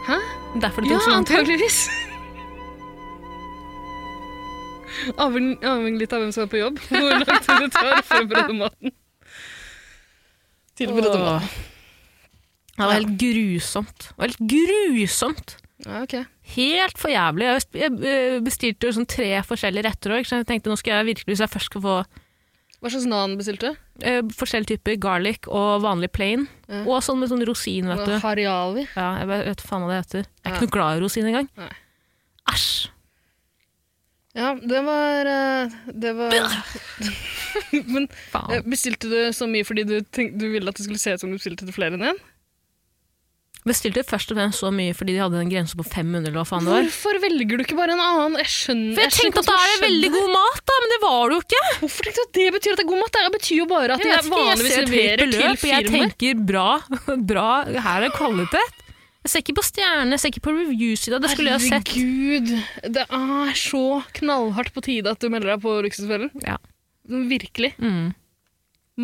C: Hæ?
A: Det er Derfor det tok
C: Ja,
A: så lang tid?
C: antageligvis. Avheng- Avhengig litt av hvem som er på
A: (laughs)
C: jobb. Hvor lang tid det tar å forberede maten. Tilberede maten.
A: Åh. Det var helt grusomt. Det var helt grusomt.
C: Ja, ok.
A: Helt for jævlig. Jeg best- Jeg eh, bestilte jo sånn tre forskjellige retter òg. Jeg tenkte nå skal jeg virkelig, hvis jeg først skal få
C: Hva slags nan bestilte du?
A: eh, forskjellige typer garlic og vanlig plain,
C: Ja.
A: og sånn med sånn rosin, vet du.
C: Hariali.
A: Ja, jeg vet- vet faen hva det heter. Jeg er
C: Ja.
A: ikke noe glad i rosin engang.
C: Nei.
A: Æsj!
C: Ja, det var eh, Det var (laughs) Men
A: Faen.
C: eh, bestilte du så mye fordi du, tenk, du ville at det skulle se ut som du bestilte til flere enn én?
A: Bestilte først og fremst så mye fordi de hadde en grense på 500 eller hva faen det var.
C: Hvorfor velger du ikke bare en annen? Mm. Jeg skjønner
A: For jeg tenkte at da er det veldig god mat, da, men det var det jo ikke.
C: Hvorfor tenkte du at det betyr at det er god mat? Det betyr jo bare at
A: Jeg vet
C: det
A: ikke, jeg
C: vanligvis
A: ser et høyt
C: leverer til
A: beløp, og jeg
C: firmaer.
A: tenker bra, (laughs) bra, her er kvalitet. Jeg ser ikke på stjerne, jeg ser ikke på reviews i dag, det skulle jeg ha sett.
C: Herregud, det er så knallhardt på tide at du melder deg på Luksusfellen.
A: Ja.
C: Virkelig.
A: Mm.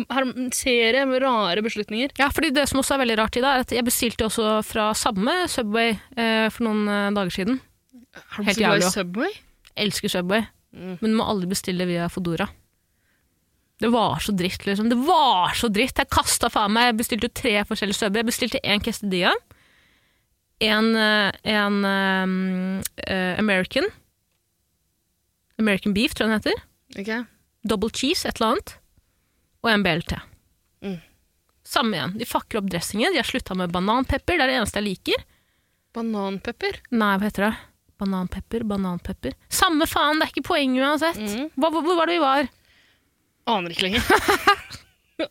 C: Her en serie med rare beslutninger.
A: Ja, fordi det som også er veldig rart i dag, er at jeg bestilte også fra samme Subway eh, for noen eh, dager siden.
C: Har du
A: Helt
C: så glad
A: jævlig,
C: i Subway?
A: Elsker Subway,
C: Mm.
A: men må aldri bestille via Fodora. Det var så dritt, liksom. Det var så dritt! Jeg kasta faen meg. Jeg bestilte jo tre forskjellige Subway. Jeg bestilte én quesadilla, en, eh, en eh, eh, American American beef, tror jeg den heter.
C: Ok.
A: Double cheese, et eller annet. Og en BLT.
C: Mm.
A: Samme igjen. De fakker opp dressingen. De har slutta med bananpepper. Det er det eneste jeg liker.
C: Bananpepper.
A: Nei, hva heter det? Bananpepper, bananpepper. Samme faen, det er ikke poenget uansett.
C: Mm.
A: Hva, hvor, hvor var det vi var?
C: Aner ikke (laughs) lenger.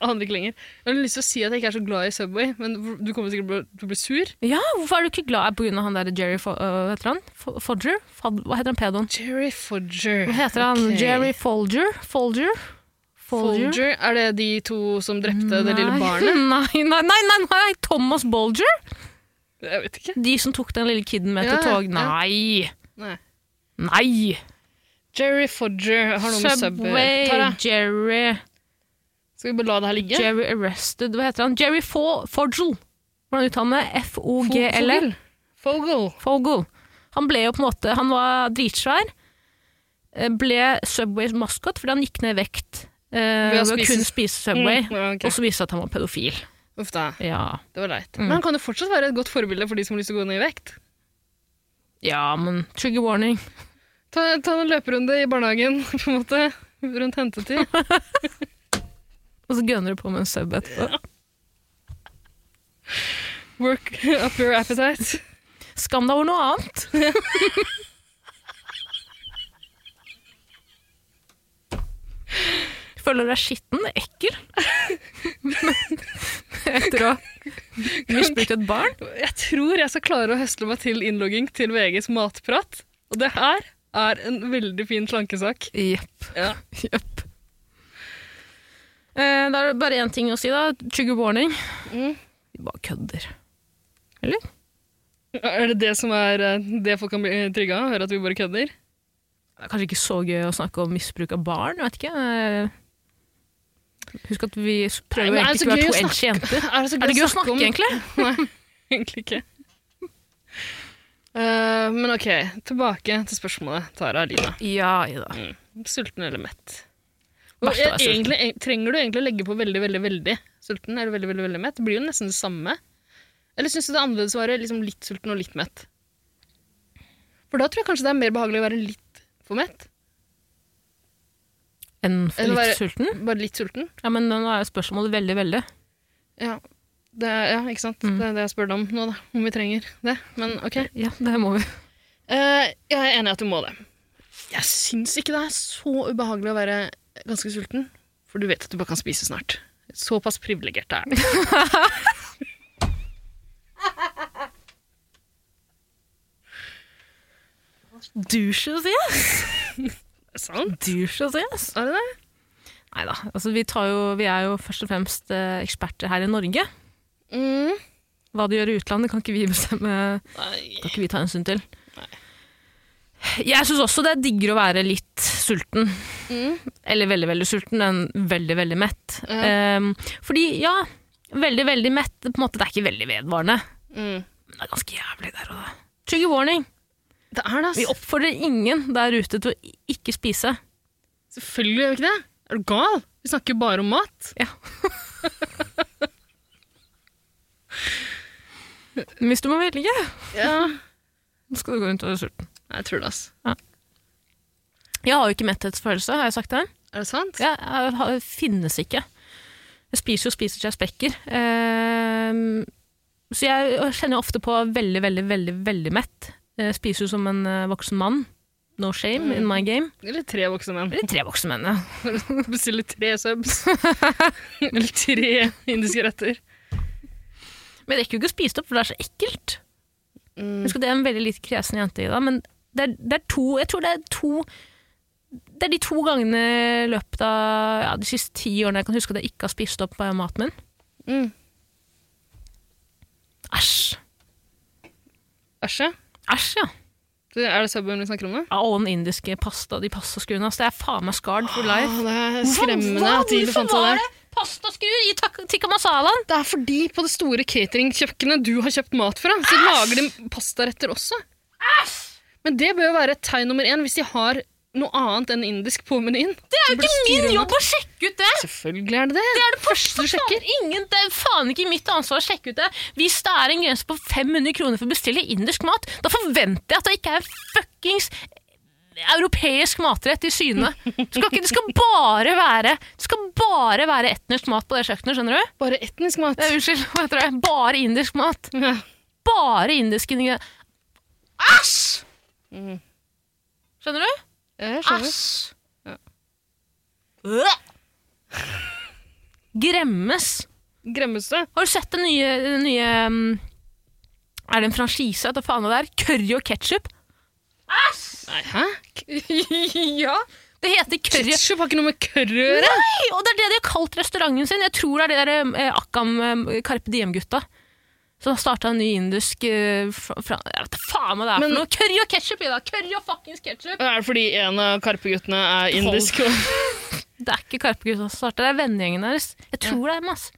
C: Aner ikke lenger. Jeg har lyst til å si at jeg ikke er så glad i Subway, men du kommer sikkert til å bli- til å bli sur.
A: Ja, hvorfor er du ikke glad på grunn av han der Jerry Fo øh, hva heter han? Fo- Fodger? Fod hva heter han pedoen?
C: Jerry Fodger.
A: Hva heter han?
C: Ok.
A: Jerry Folger? Folger?
C: Folger? Er det de to som drepte det lille
A: Nei.
C: (laughs) barnet?
A: (laughs) Nei, nei, nei, nei, nei, Thomas Bolger?
C: Jeg vet ikke.
A: De som tok den lille kiden med
C: Ja,
A: til tog?
C: ja.
A: Nei!
C: Nei.
A: Nei!
C: Jerry Fodger har noe med Subway Tara,
A: Subway, Jerry
C: skal vi bare la det her ligge?
A: Jerry Arrested, hva heter han? Jerry Fo Fogel. Hvordan uttaler han det? F-O-G-L-L.
C: Fogel.
A: Fogel. Han ble jo på en måte, han var dritsvær, eh, ble Subways maskot fordi han gikk ned i vekt eh,
C: Ved
A: ved
C: å
A: å
C: spise-
A: kun spise Subway,
C: Mm, ja, ok.
A: og så viste det seg at han var pedofil.
C: Uff da,
A: Ja,
C: det var leit.
A: Mm.
C: Men han kan jo fortsatt være et godt forbilde for de som har lyst til å gå ned i vekt.
A: ja men trigger warning.
C: Ta, ta en løperunde i barnehagen, (laughs) på en måte. Rundt (laughs) hentetid.
A: Og så gønner du på med en sub etterpå.
C: Work up your appetite.
A: Skam deg over noe annet. (laughs) Føler du deg skitten,
C: (laughs)
A: ekkel? (laughs) Etter å ha misbrukt et barn?
C: Jeg tror jeg skal klare å høsle meg til innlogging til VGs matprat. Og det her er en veldig fin slankesak.
A: Jepp.
C: Ja.
A: Jepp. Eh, da er det bare én ting å si, da. Trigger warning.
C: Mm.
A: De bare kødder.
C: Er det det som er eh, det folk kan bli trigga av? Høre at vi bare kødder?
A: Det er kanskje ikke så gøy å snakke om misbruk av barn, jeg vet ikke. Eh, husk at vi s- prøver
C: Nei, men
A: jo
C: er
A: egentlig
C: det
A: ikke å
C: så
A: være
C: gøy
A: to
C: å
A: edgy jenter.
C: Er det, så
A: Er det gøy å snakke,
C: snakke om? (laughs)
A: egentlig?
C: Nei, egentlig ikke. Eh, men ok, tilbake til spørsmålet. Tara Lina,
A: Ja, ja da.
C: sulten eller mett? Og
A: Verst å være
C: jeg- egentlig, eng- trenger du egentlig å legge på veldig, veldig, veldig sulten eller veldig, veldig, veldig mett? Det blir jo nesten det samme. Eller syns du det er annerledes å være liksom litt sulten og litt mett? For da tror jeg kanskje det er mer behagelig å være litt for mett.
A: En for
C: Eller
A: litt
C: være-
A: sulten?
C: Bare litt sulten.
A: Ja, men nå er jo spørsmålet veldig, veldig.
C: Ja, det er, ja ikke sant?
A: Mm.
C: Det er det jeg spør deg om nå, da. Om vi trenger det. Men ok.
A: Ja, det må vi.
C: Eh, jeg er enig i at du må det. Jeg syns ikke det er så ubehagelig å være ganske sulten, for du vet at du bare kan spise snart. Såpass privilegert er det.
A: Douche å si, ass!
C: Sant?
A: Douche å si, ass!
C: Er det det?
A: Nei da. Altså, vi, tar jo, vi er jo først og fremst eh, eksperter her i Norge.
C: Mm.
A: Hva de gjør i utlandet, kan ikke vi bestemme
C: Nei.
A: kan ikke vi ta hensyn til. Jeg syns også det er diggere å være litt sulten,
C: Mm.
A: eller veldig, veldig sulten, enn veldig, veldig mett.
C: Ja.
A: Ehm, fordi, ja, veldig, veldig mett, på en måte, det er ikke veldig vedvarende.
C: Mm.
A: Men det er ganske jævlig der og da. Trigger warning.
C: Det er det,
A: Vi
C: altså.
A: oppfordrer ingen der ute til å i- ikke spise.
C: Selvfølgelig gjør vi ikke det. Er du gal? Vi snakker bare om mat.
A: Men hvis du må velge,
C: Ja.
A: så skal du gå rundt og være sulten.
C: Jeg tror det, altså.
A: Jeg har jo ikke metthetsfølelse, har jeg sagt det?
C: Er det sant?
A: Ja, jeg har- finnes ikke. Jeg spiser jo spiser til jeg sprekker. Ehm, så jeg kjenner jo ofte på veldig, veldig, veldig, veldig mett. Jeg spiser jo som en eh, voksen mann. No shame in my game.
C: Eller tre voksne menn.
A: Eller tre voksne menn, ja.
C: Bestiller tre (laughs) subs. Eller tre indiske retter.
A: Men jeg rekker jo ikke å spise det opp, for det er så ekkelt.
C: Mm.
A: Husk at det er en veldig litt kresen jente i dag, men det er, det er to Jeg tror det er to det er de to gangene i løpet av ja, de siste ti årene jeg kan huske at jeg ikke har spist opp eh, maten min.
C: Mm.
A: Æsj.
C: Æsj, ja.
A: Æsj, ja.
C: Du, Er det Subwayen vi snakker om nå?
A: Ja, og den indiske pasta, de pastaskuene. Altså, det er faen meg scarred for life.
C: Åh, Ah, det er skremmende at de befant seg
A: var
C: der.
A: det pastaskur i tak- tikka masalaen?
C: Det er fordi på det store cateringkjøkkenet du har kjøpt mat fra, så lager de pastaretter også. Men det bør jo være et tegn nummer én hvis de har noe annet enn indisk på menyen. Det er
A: Det er ikke min jobb å sjekke ut det!
C: Selvfølgelig er det det.
A: Det er det
C: første du sjekker.
A: Faen, Ingen, det er faen ikke mitt ansvar å sjekke ut det. Hvis det er en grense på 500 kroner for å bestille indisk mat, da forventer jeg at det ikke er fuckings europeisk matrett i syne. Det skal, ikke, det skal bare være Det skal bare være etnisk mat på det kjøkkenet, skjønner du?
C: Bare etnisk mat.
A: Nei, unnskyld, hva heter det? Bare indisk mat.
C: Ja.
A: Bare indiske ingredienser. Æsj!
C: Mm.
A: Skjønner du?
C: Ja, jeg skjønner.
A: Æsj!
C: Ja.
A: Øh! (laughs) Gremmes.
C: Gremmes det?
A: Har du sett den nye, den nye mm, Er det en franchise? Hva faen det er? Curry og ketsjup?
C: Nei, hæ?
A: (laughs)
C: ja.
A: Det heter curry
C: Ketchup har ikke noe med curry å gjøre.
A: Nei, og det er det de har kalt restauranten sin. Jeg tror det er det der eh, Akkam eh, Carpe Diem-gutta. Som har starta en ny indisk eh, fra, fra, Jeg vet da faen hva det er
C: Men-
A: for noe! Curry og ketsjup i dag! Curry og fuckings ketsjup!
C: Er det fordi en av Karpe-guttene er indisk?
A: Det er ikke Karpe-gutta som starta, det er vennegjengen deres. Jeg tror det er dem, ass.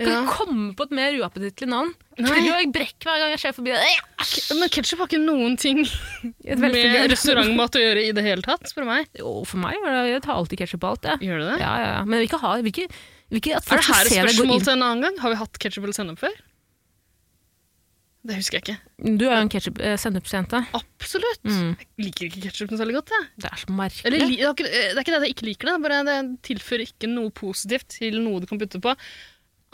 A: Kan
C: Ja.
A: ikke komme på et mer uappetittlig navn.
C: Nei.
A: Curry og brekk hver gang jeg ser forbi. Eh, æsj!
C: Men ketsjup har ikke noen ting
A: Et
C: med
A: velfungerende-
C: restaurantmat å gjøre i det hele tatt, spør du meg.
A: (laughs) Jo, for meg var det Jeg tar alltid ketsjup på alt, jeg.
C: Gjør det det?
A: Ja, ja, ja. Men jeg vil ikke ha jeg vil ikke, jeg vil ikke at
C: Er
A: folk
C: det
A: skal
C: her et
A: se deg gå
C: spørsmål
A: inn
C: til en annen gang? Har vi hatt ketsjup eller sennep før? Det husker jeg ikke.
A: Du er jo en eh, ketsjup-sennepsjente.
C: Absolutt.
A: Mm.
C: Jeg liker ikke ketsjupen særlig godt. Jeg.
A: Det er så merkelig.
C: Eller, li- det, er ikke, eh, det er ikke det at jeg ikke liker det, bare det tilfører ikke noe positivt til noe du kan putte på.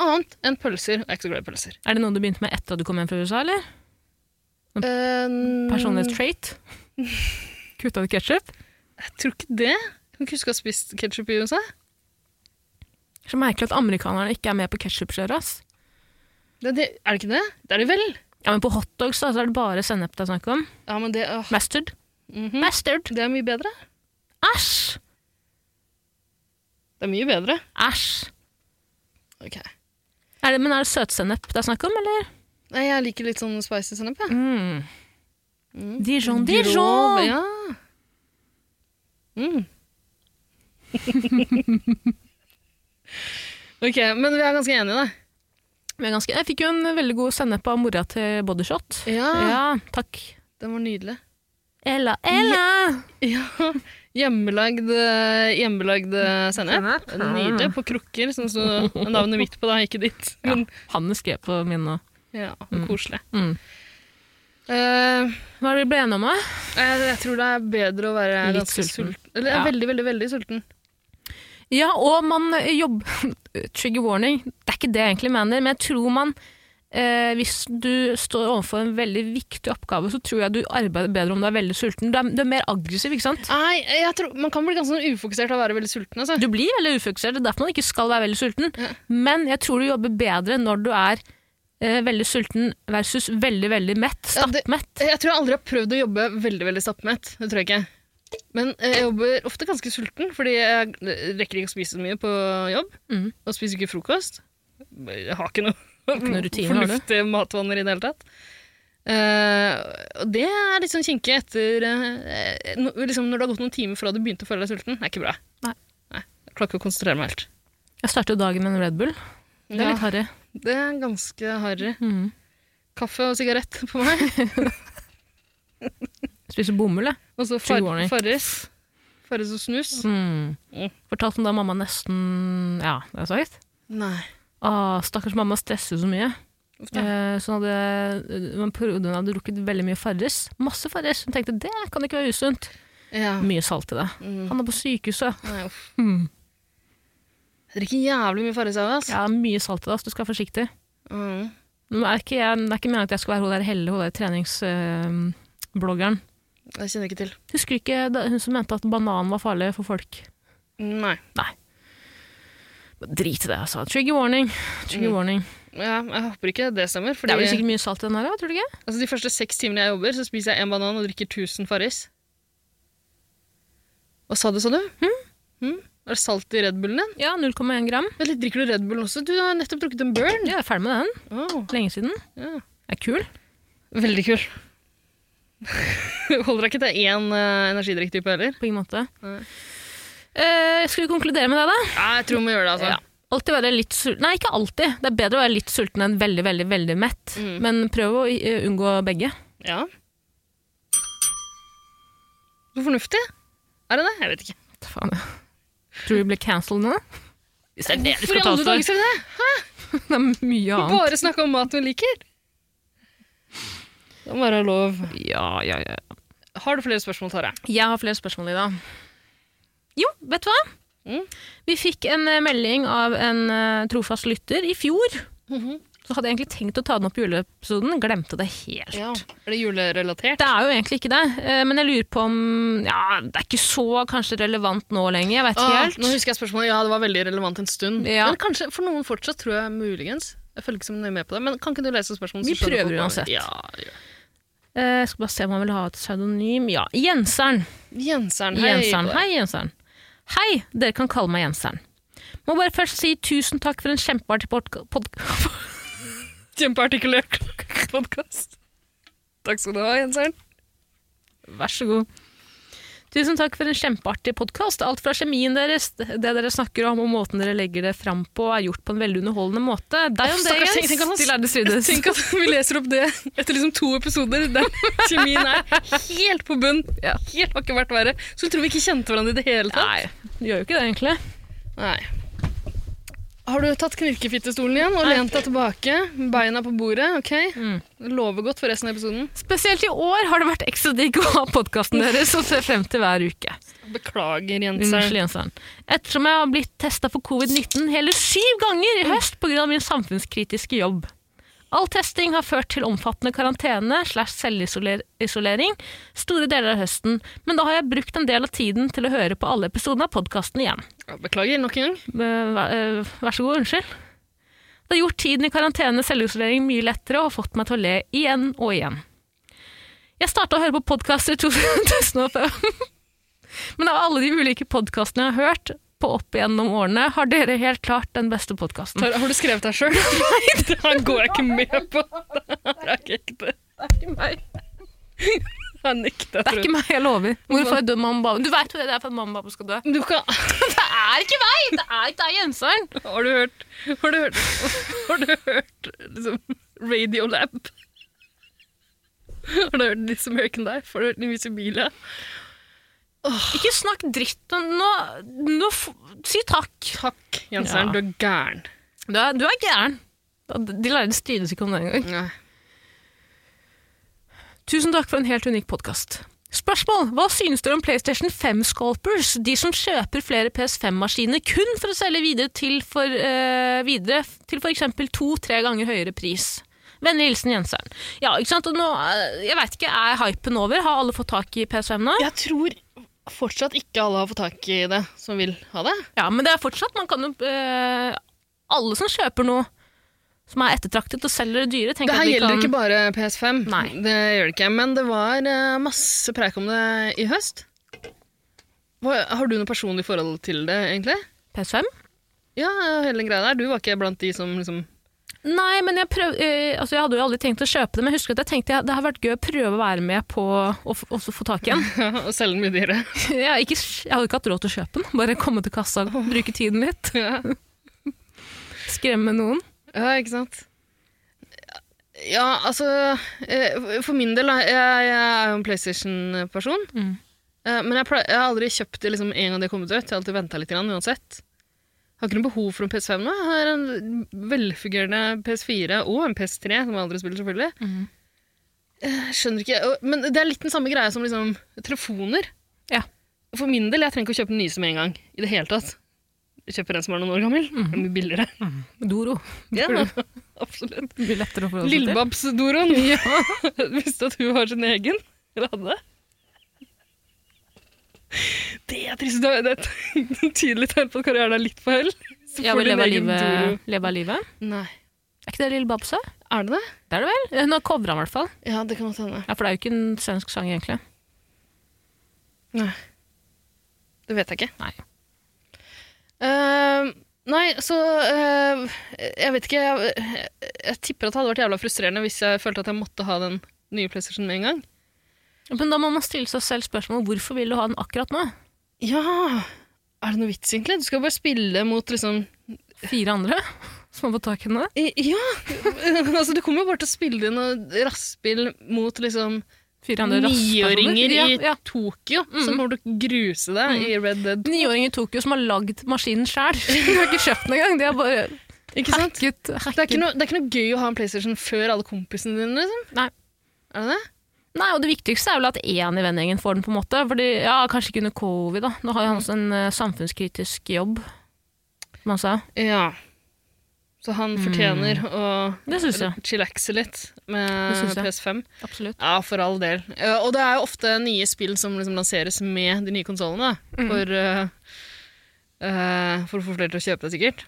C: Annet enn pølser. Jeg er ikke så glad i pølser.
A: Er det noe du begynte med etter at du kom hjem fra USA, eller? Mm.
C: Mm. Eh,
A: Personlighetstrait?
C: (laughs)
A: Kutta du ketsjup?
C: Jeg tror ikke det. Jeg kan ikke huske å ha spist ketsjup i USA.
A: Så merkelig at amerikanerne ikke er med på ketsjupkjøret, ass.
C: Det, det, er det ikke det? Det er det vel.
A: Ja, men på hotdogs da, så er det bare sennep det er snakk om.
C: Ja, men det, åh,
A: Mustard.
C: mhm.
A: Mustard!
C: det er mye bedre.
A: Æsj!
C: Det er mye bedre.
A: Æsj!
C: Ok.
A: Er det, men er det søtsennep det er snakk om, eller?
C: Nei, jeg liker litt sånn spicy sennep, jeg.
A: Mm.
C: Mm.
A: Dijon, Dijon!
C: Ja. Mm. (laughs) ok, men vi er ganske enige, da.
A: Men ganske, jeg fikk jo en veldig god sennep av mora til Bodyshot.
C: Ja,
A: Ja, takk.
C: Den var nydelig.
A: Ella, Ella!
C: Ja, Hjemmelagd, eh, hjemmelagd
A: Sennep.
C: sennep. Nydelig. På krukker, sånn som sto (laughs) navnet mitt på, da. Ikke ditt.
A: Ja.
C: Men
A: Hanne skrev på min nå.
C: ja,
A: Mm.
C: koselig.
A: Mm.
C: Eh,
A: Hva er det vi ble enige om? da?
C: jeg, jeg tror det er bedre å være
A: Litt
C: ganske
A: sulten.
C: sulten. Eller
A: Ja.
C: veldig, veldig, veldig sulten.
A: Ja, og man jobber (laughs) Trigger warning, det er ikke det jeg egentlig mener, men jeg tror man eh, Hvis du står overfor en veldig viktig oppgave, så tror jeg du arbeider bedre om du er veldig sulten. Du er, du er mer aggressiv, ikke sant?
C: Nei, jeg tror, Man kan bli ganske sånn ufokusert av å være veldig sulten. altså.
A: Du blir veldig ufokusert, det er derfor man ikke skal være veldig sulten.
C: Ja.
A: Men jeg tror du jobber bedre når du er eh, veldig sulten versus veldig, veldig mett.
C: Ja, det- (laughs)
A: Stappmett.
C: Jeg tror jeg aldri har prøvd å jobbe veldig veldig stappmett. Det tror jeg ikke. Men eh, jeg jobber ofte ganske sulten, fordi jeg rekker ikke å spise så mye på jobb.
A: Mhm.
C: Og spiser ikke frokost. Jeg har ikke noe,
A: ikke noe rutine, har du?
C: fornuftige matvaner i det hele tatt. Eh, og det er litt sånn kinkig etter eh, no, liksom Når det har gått noen timer fra du begynte å føle deg sulten. Det er ikke bra.
A: Nei.
C: Jeg klarer ikke å konsentrere meg helt.
A: Jeg startet dagen med en Red Bull. Det er
C: Ja,
A: litt harry.
C: det er ganske harry.
A: Mm.
C: Kaffe og sigarett på meg.
A: Spiser bomull, jeg. (laughs)
C: Og så
A: Trigger warning.
C: far, Farris. Farris og snus.
A: Mm.
C: Mm.
A: Fortalte om da mamma nesten Ja, det er så høyt.
C: Nei.
A: Ah, stakkars mamma stresser så mye.
C: Uff da.
A: Eh, så hun hadde, men på grunn av at hun hadde drukket veldig mye Farris. Masse Farris. Hun tenkte det kan ikke være usunt.
C: Ja.
A: Mye salt i det.
C: Mm.
A: Han er på sykehuset.
C: Nei, uff.
A: Hmm.
C: Jeg drikker jævlig mye Farris av, altså.
A: Ja, mye salt i det, så du skal være forsiktig.
C: Mm.
A: Men det er ikke, jeg, det er ikke meningen at jeg skal være hun der Helle, hun der treningsbloggeren.
C: Det kjenner jeg ikke til.
A: Husker du ikke da, hun som mente at banan var farlig for folk?
C: Nei.
A: Men Drit i det, altså. Trigger warning. Trigger
C: Mm.
A: warning.
C: Ja, jeg håper ikke det stemmer.
A: Det
C: Fordi,
A: er vel sikkert mye salt i den her, da, tror du ikke?
C: altså, de første seks timene jeg jobber, så spiser jeg en banan og drikker 1000 Farris. Hva sa du, sa du? Mm? Er det salt i Red Bullen din?
A: Ja, 0,1 gram.
C: Vent litt, drikker du Red Bullen også? Du har nettopp drukket en Burn.
A: Ja, jeg er ferdig med den.
C: Åh,
A: Lenge siden.
C: ja.
A: Det er kul.
C: Veldig kul. (laughs) Holder deg ikke til én uh, energidrikktype heller?
A: På ingen måte.
C: Nei.
A: Eh, skal vi konkludere med det, da?
C: Nei, jeg tror vi må gjøre det, altså.
A: Ja. Alltid være litt sulten Nei, ikke alltid. Det er bedre å være litt sulten enn veldig, veldig, veldig mett.
C: Mm.
A: Men prøv å eh, unngå begge.
C: Ja. Så fornuftig. Er det det? Jeg vet ikke.
A: Faen, ja. Tror du vi blir cancelled nå? Hvis det er det du
C: For i
A: skal ta
C: alle
A: oss
C: dager
A: for.
C: skal vi det?
A: Det er mye annet.
C: Bare snakke om mat vi liker. Det må være lov.
A: Ja, ja, ja.
C: Har du flere spørsmål, Tare?
A: Jeg har flere spørsmål, Ida. Jo, vet du hva?
C: Mm.
A: Vi fikk en eh, melding av en eh, trofast lytter i fjor.
C: Mhm.
A: Så hadde jeg egentlig tenkt å ta den opp i juleepisoden, glemte det helt.
C: Ja. Er det julerelatert?
A: Det er jo egentlig ikke det, eh, men jeg lurer på om Ja, det er ikke så kanskje relevant nå lenger, jeg vet ikke
C: Ah,
A: helt.
C: nå husker jeg spørsmålet. Ja, det var veldig relevant en stund.
A: Ja.
C: Men kanskje for noen fortsatt, tror jeg muligens. Jeg følger ikke så nøye med på det, men kan ikke du lese spørsmålet? så
A: Vi
C: skjønner
A: prøver
C: folk hva-
A: uansett.
C: Ja, ja.
A: Eh, Jeg skal bare se om han vil ha et pseudonym. Ja, Jenseren.
C: Jenseren, hei.
A: Jenseren. Hei, Jenseren. Hei, dere kan kalle meg Jenseren. Må bare først si tusen takk for en kjempeartig podkast.
C: Kjempeartikulert (laughs) podkast. Takk skal du ha, Jenseren.
A: Vær så god. Tusen takk for en kjempeartig podkast. Alt fra kjemien deres, det dere snakker om, og måten dere legger det fram på, er gjort på en veldig underholdende måte. Deg om det,
C: Stakkars, tenk-
A: Jens.
C: tenk at han-
A: Til Erde Svides.
C: Tenk at vi leser opp det etter liksom to episoder der kjemien er helt på bunn.
A: Ja.
C: Helt har ikke vært verre. Så du tror vi ikke kjente hverandre i det hele tatt?
A: (laughs) Nei, du gjør jo ikke det, egentlig.
C: Nei. Har du tatt knirkefittestolen igjen og lent deg tilbake? Beina på bordet, ok?
A: Mm.
C: Lover godt for resten av episoden.
A: Spesielt i år har det vært ekstra digg å ha (laughs) podkasten deres og se frem til hver uke.
C: Beklager,
A: Unnskyld,
C: Jenseren.
A: Jenseren. Ettersom jeg har blitt testa for covid-19 hele syv ganger i høst pga. min samfunnskritiske jobb. All testing har ført til omfattende karantene slash selvisolering store deler av høsten, men da har jeg brukt en del av tiden til å høre på alle episodene av podkasten igjen.
C: Beklager nok en gang.
A: Eh, Vær eh, vær så god, unnskyld. Det har gjort tiden i karantene og selvisolering mye lettere og har fått meg til å le igjen og igjen. Jeg starta å høre på podkaster (laughs) i 2005, men av alle de ulike podkastene jeg har hørt på opp igjennom årene, har dere helt klart den beste podkasten.
C: Tara, Har du skrevet deg sjøl? (laughs) Nei, det her går jeg ikke med på. Det her er ikke ekte. Jeg nekter.
A: Det er ikke meg, jeg lover. Hvorfor død mamma og baba? Du veit jo det, det er for at mamma og baba skal dø.
C: Du kan...
A: Det er ikke meg! Det er ikke deg, Jenseren.
C: Har du hørt Har du hørt, har du hørt liksom, Radiolab? Har du hørt This American Life? Har du hørt Invisibilia?
A: Ikke snakk dritt om Nå, nå f- Si takk.
C: Takk,
A: Ja.
C: Jenseren, du er gæren.
A: Du er, du er gæren. De lærde styres ikke om det engang. Tusen takk for en helt unik podkast. Spørsmål! Hva synes dere om PlayStation 5-scalpers? De som kjøper flere PS5-maskiner kun for å selge videre til for, eh, videre til for eksempel to-tre ganger høyere pris. Vennlig hilsen Jenseren. Ja, ikke sant? Og nå, eh, jeg veit ikke, er hypen over? Har alle fått tak i PS5 nå?
C: Jeg tror fortsatt ikke alle har fått tak i det som vil ha det.
A: Ja, men det er fortsatt Man kan jo eh, Alle som kjøper noe som er ettertraktet og selger det dyre, tenker
C: Det her
A: at de
C: gjelder
A: kan
C: ikke bare PS5.
A: Nei.
C: Det gjør det ikke. Men det var eh, masse preik om det i høst. Hva, har du noe personlig forhold til det, egentlig?
A: PS5?
C: Ja, hele den greia der. Du var ikke blant de som liksom (laughs)
A: Nei, men jeg, prøv, eh, altså jeg hadde jo aldri tenkt å kjøpe det, men jeg husker at jeg tenkte ja, det har vært gøy å prøve å være med på å f også få tak i en.
C: Og selger den mye dyrere. (laughs)
A: Jeg, har ikke, jeg hadde ikke hatt råd til å kjøpe den, bare komme til kassa, bruke tiden litt,
C: Ja.
A: skremme noen.
C: Ja, ikke sant? Ja, altså eh, For min del, da, jeg, jeg er jo en PlayStation-person.
A: Mm.
C: Eh, Men jeg, plei- jeg har aldri kjøpt det liksom, en gang det har kommet ut. Jeg har alltid venta litt grann, uansett. Jeg har ikke noe behov for en PS5 nå. Jeg har en velfungerende PS4 og en PS3, som jeg aldri spiller, selvfølgelig.
A: Mhm.
C: Eh, Skjønner ikke og- Men det er litt den samme greia som liksom, telefoner.
A: Ja.
C: For min del, jeg trenger ikke å kjøpe den nye som en gang. I det hele tatt. Jeg kjøper en som er noen år gammel.
A: Mhm.
C: Det er mye billigere.
A: Doro.
C: Ja, (laughs) absolutt.
A: Det blir lettere å forholde seg til.
C: (laughs) Lillebabs-Doron. Visste at hun har sin egen? Eller hadde? Det er trist. Det er- det er et (laughs) tydelig tegn på at karrieren er litt på hell. Så
A: Ja,
C: får
A: men
C: du en
A: leve av
C: egen Doro.
A: livet. Leve av livet.
C: Nei.
A: Er ikke det Eh, Lille Babse?
C: eh, Er det det?
A: Det er det vel? Hun har covra den i hvert fall.
C: Ja, det kan godt hende.
A: Ja, for det er jo ikke en svensk sang egentlig.
C: Nei. Det vet jeg ikke.
A: Nei.
C: Eh, nei, så eh, Jeg vet ikke. Jeg, jeg, jeg tipper at det hadde vært jævla frustrerende hvis jeg følte at jeg måtte ha den nye PlayStation med en gang.
A: Men da må man stille seg selv spørsmål, hvorfor vil du ha den akkurat nå?
C: Ja! Er det noe vits, egentlig? Du skal bare spille mot liksom
A: Fire andre som har fått tak i den?
C: I- Ja! (laughs) altså, du kommer jo bare til å spille noe rassspill mot liksom
A: Fire andre
C: niåringer
A: rasspersoner?
C: i
A: Ja, Mhm. ja.
C: Tokyo, som kommer til å gruse deg i Red Dead.
A: Niåringer i Tokyo som har lagd maskinen sjæl. (laughs) De har ikke kjøpt den engang. De har bare
C: Ikke sant?
A: hacket.
C: Det er
A: hacket.
C: ikke, noe, det er ikke noe gøy å ha en PlayStation før alle kompisene dine, liksom.
A: Nei.
C: Er det det?
A: Nei, og det viktigste er vel at én i vennegjengen får den, på en måte. Fordi, ja, kanskje ikke under covid, da. Nå har jo han også en eh, samfunnskritisk jobb, som han sa.
C: Ja. Så han fortjener å
A: Det syns jeg.
C: chillaxe litt
A: Mm. Det
C: med
A: synes jeg.
C: PS5.
A: Absolutt.
C: Ja, for all del. Eh, og det er jo ofte nye spill som liksom lanseres med de nye konsollene.
A: Mhm.
C: For, eh, eh, for å få flere til å kjøpe det, sikkert.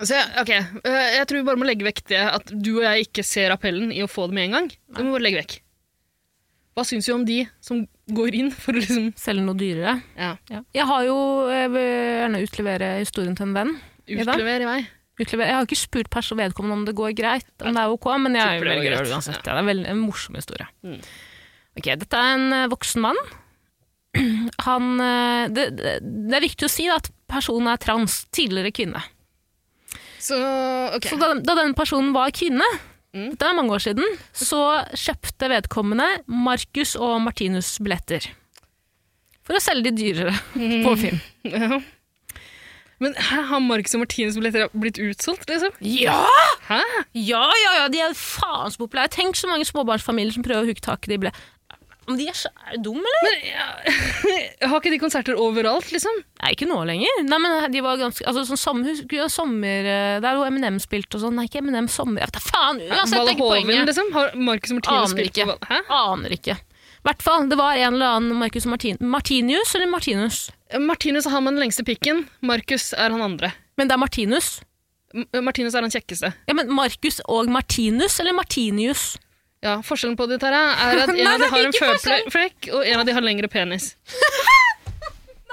C: Så ja, ok, Eh, Jeg tror vi bare må legge vekk det at du og jeg ikke ser appellen i å få det med en gang. Det må vi bare legge vekk. Hva syns vi om de som går inn for å liksom
A: Selge noe dyrere.
C: ja,
A: Jeg har jo Jeg vil gjerne utlevere historien til en venn. Eva?
C: utlevere i vei?
A: Utlevere. Jeg har ikke spurt pers og vedkommende om det går greit, om det er ok, men jeg
C: Tipper det var
A: velger å gjøre
C: greit.
A: det uansett. Ja, det er vel en morsom historie.
C: Mm.
A: Ok, dette er en eh, voksen mann. (clears throat) Han, eh, det, det det er viktig å si da, at personen er trans, tidligere kvinne.
C: Så ok.
A: Så da, da den personen var kvinne,
C: Mm.
A: det er mange år siden, så kjøpte vedkommende Marcus og Martinus billetter. For å selge de
C: (laughs)
A: dyrere på Finn.
C: (laughs) Ja. Men hæ, har Marcus og Martinus billetter blitt utsolgt, liksom?
A: Ja!
C: Hæ?
A: Ja, ja, ja, de er faen så populære. Tenk så mange småbarnsfamilier som prøver å hooke tak i de ble... Om de er så er de dumme, eller?
C: Men, ja. (laughs) Har ikke de konserter overalt, liksom?
A: Nei, ikke nå lenger. Nei, men de var ganske... Altså, sånn sommer... sommer eh, der hvor Eminem spilte og sånn. Nei, ikke Eminem sommer. altså, Jeg vet da faen, uansett, det er ikke
C: Valhoven,
A: poenget.
C: liksom? Har Marcus og Martinus
A: Aner
C: spilt på
A: ikke.
C: Val- Hæ?
A: Aner ikke. I hvert fall, det var en eller annen Marcus Martin... Martinius, eller Martinus?
C: Martinus er han med den lengste pikken. Marcus er han andre.
A: Men det er Martinus.
C: M- eh, Martinus er han kjekkeste.
A: Ja, men Marcus og Martinus, eller Martinius?
C: Ja, Forskjellen på de her er
A: (laughs)
C: at en
A: Nei,
C: av
A: det
C: de
A: er
C: har en
A: ikke forskjell.
C: føflekk, og en av de har lengre penis.
A: (laughs)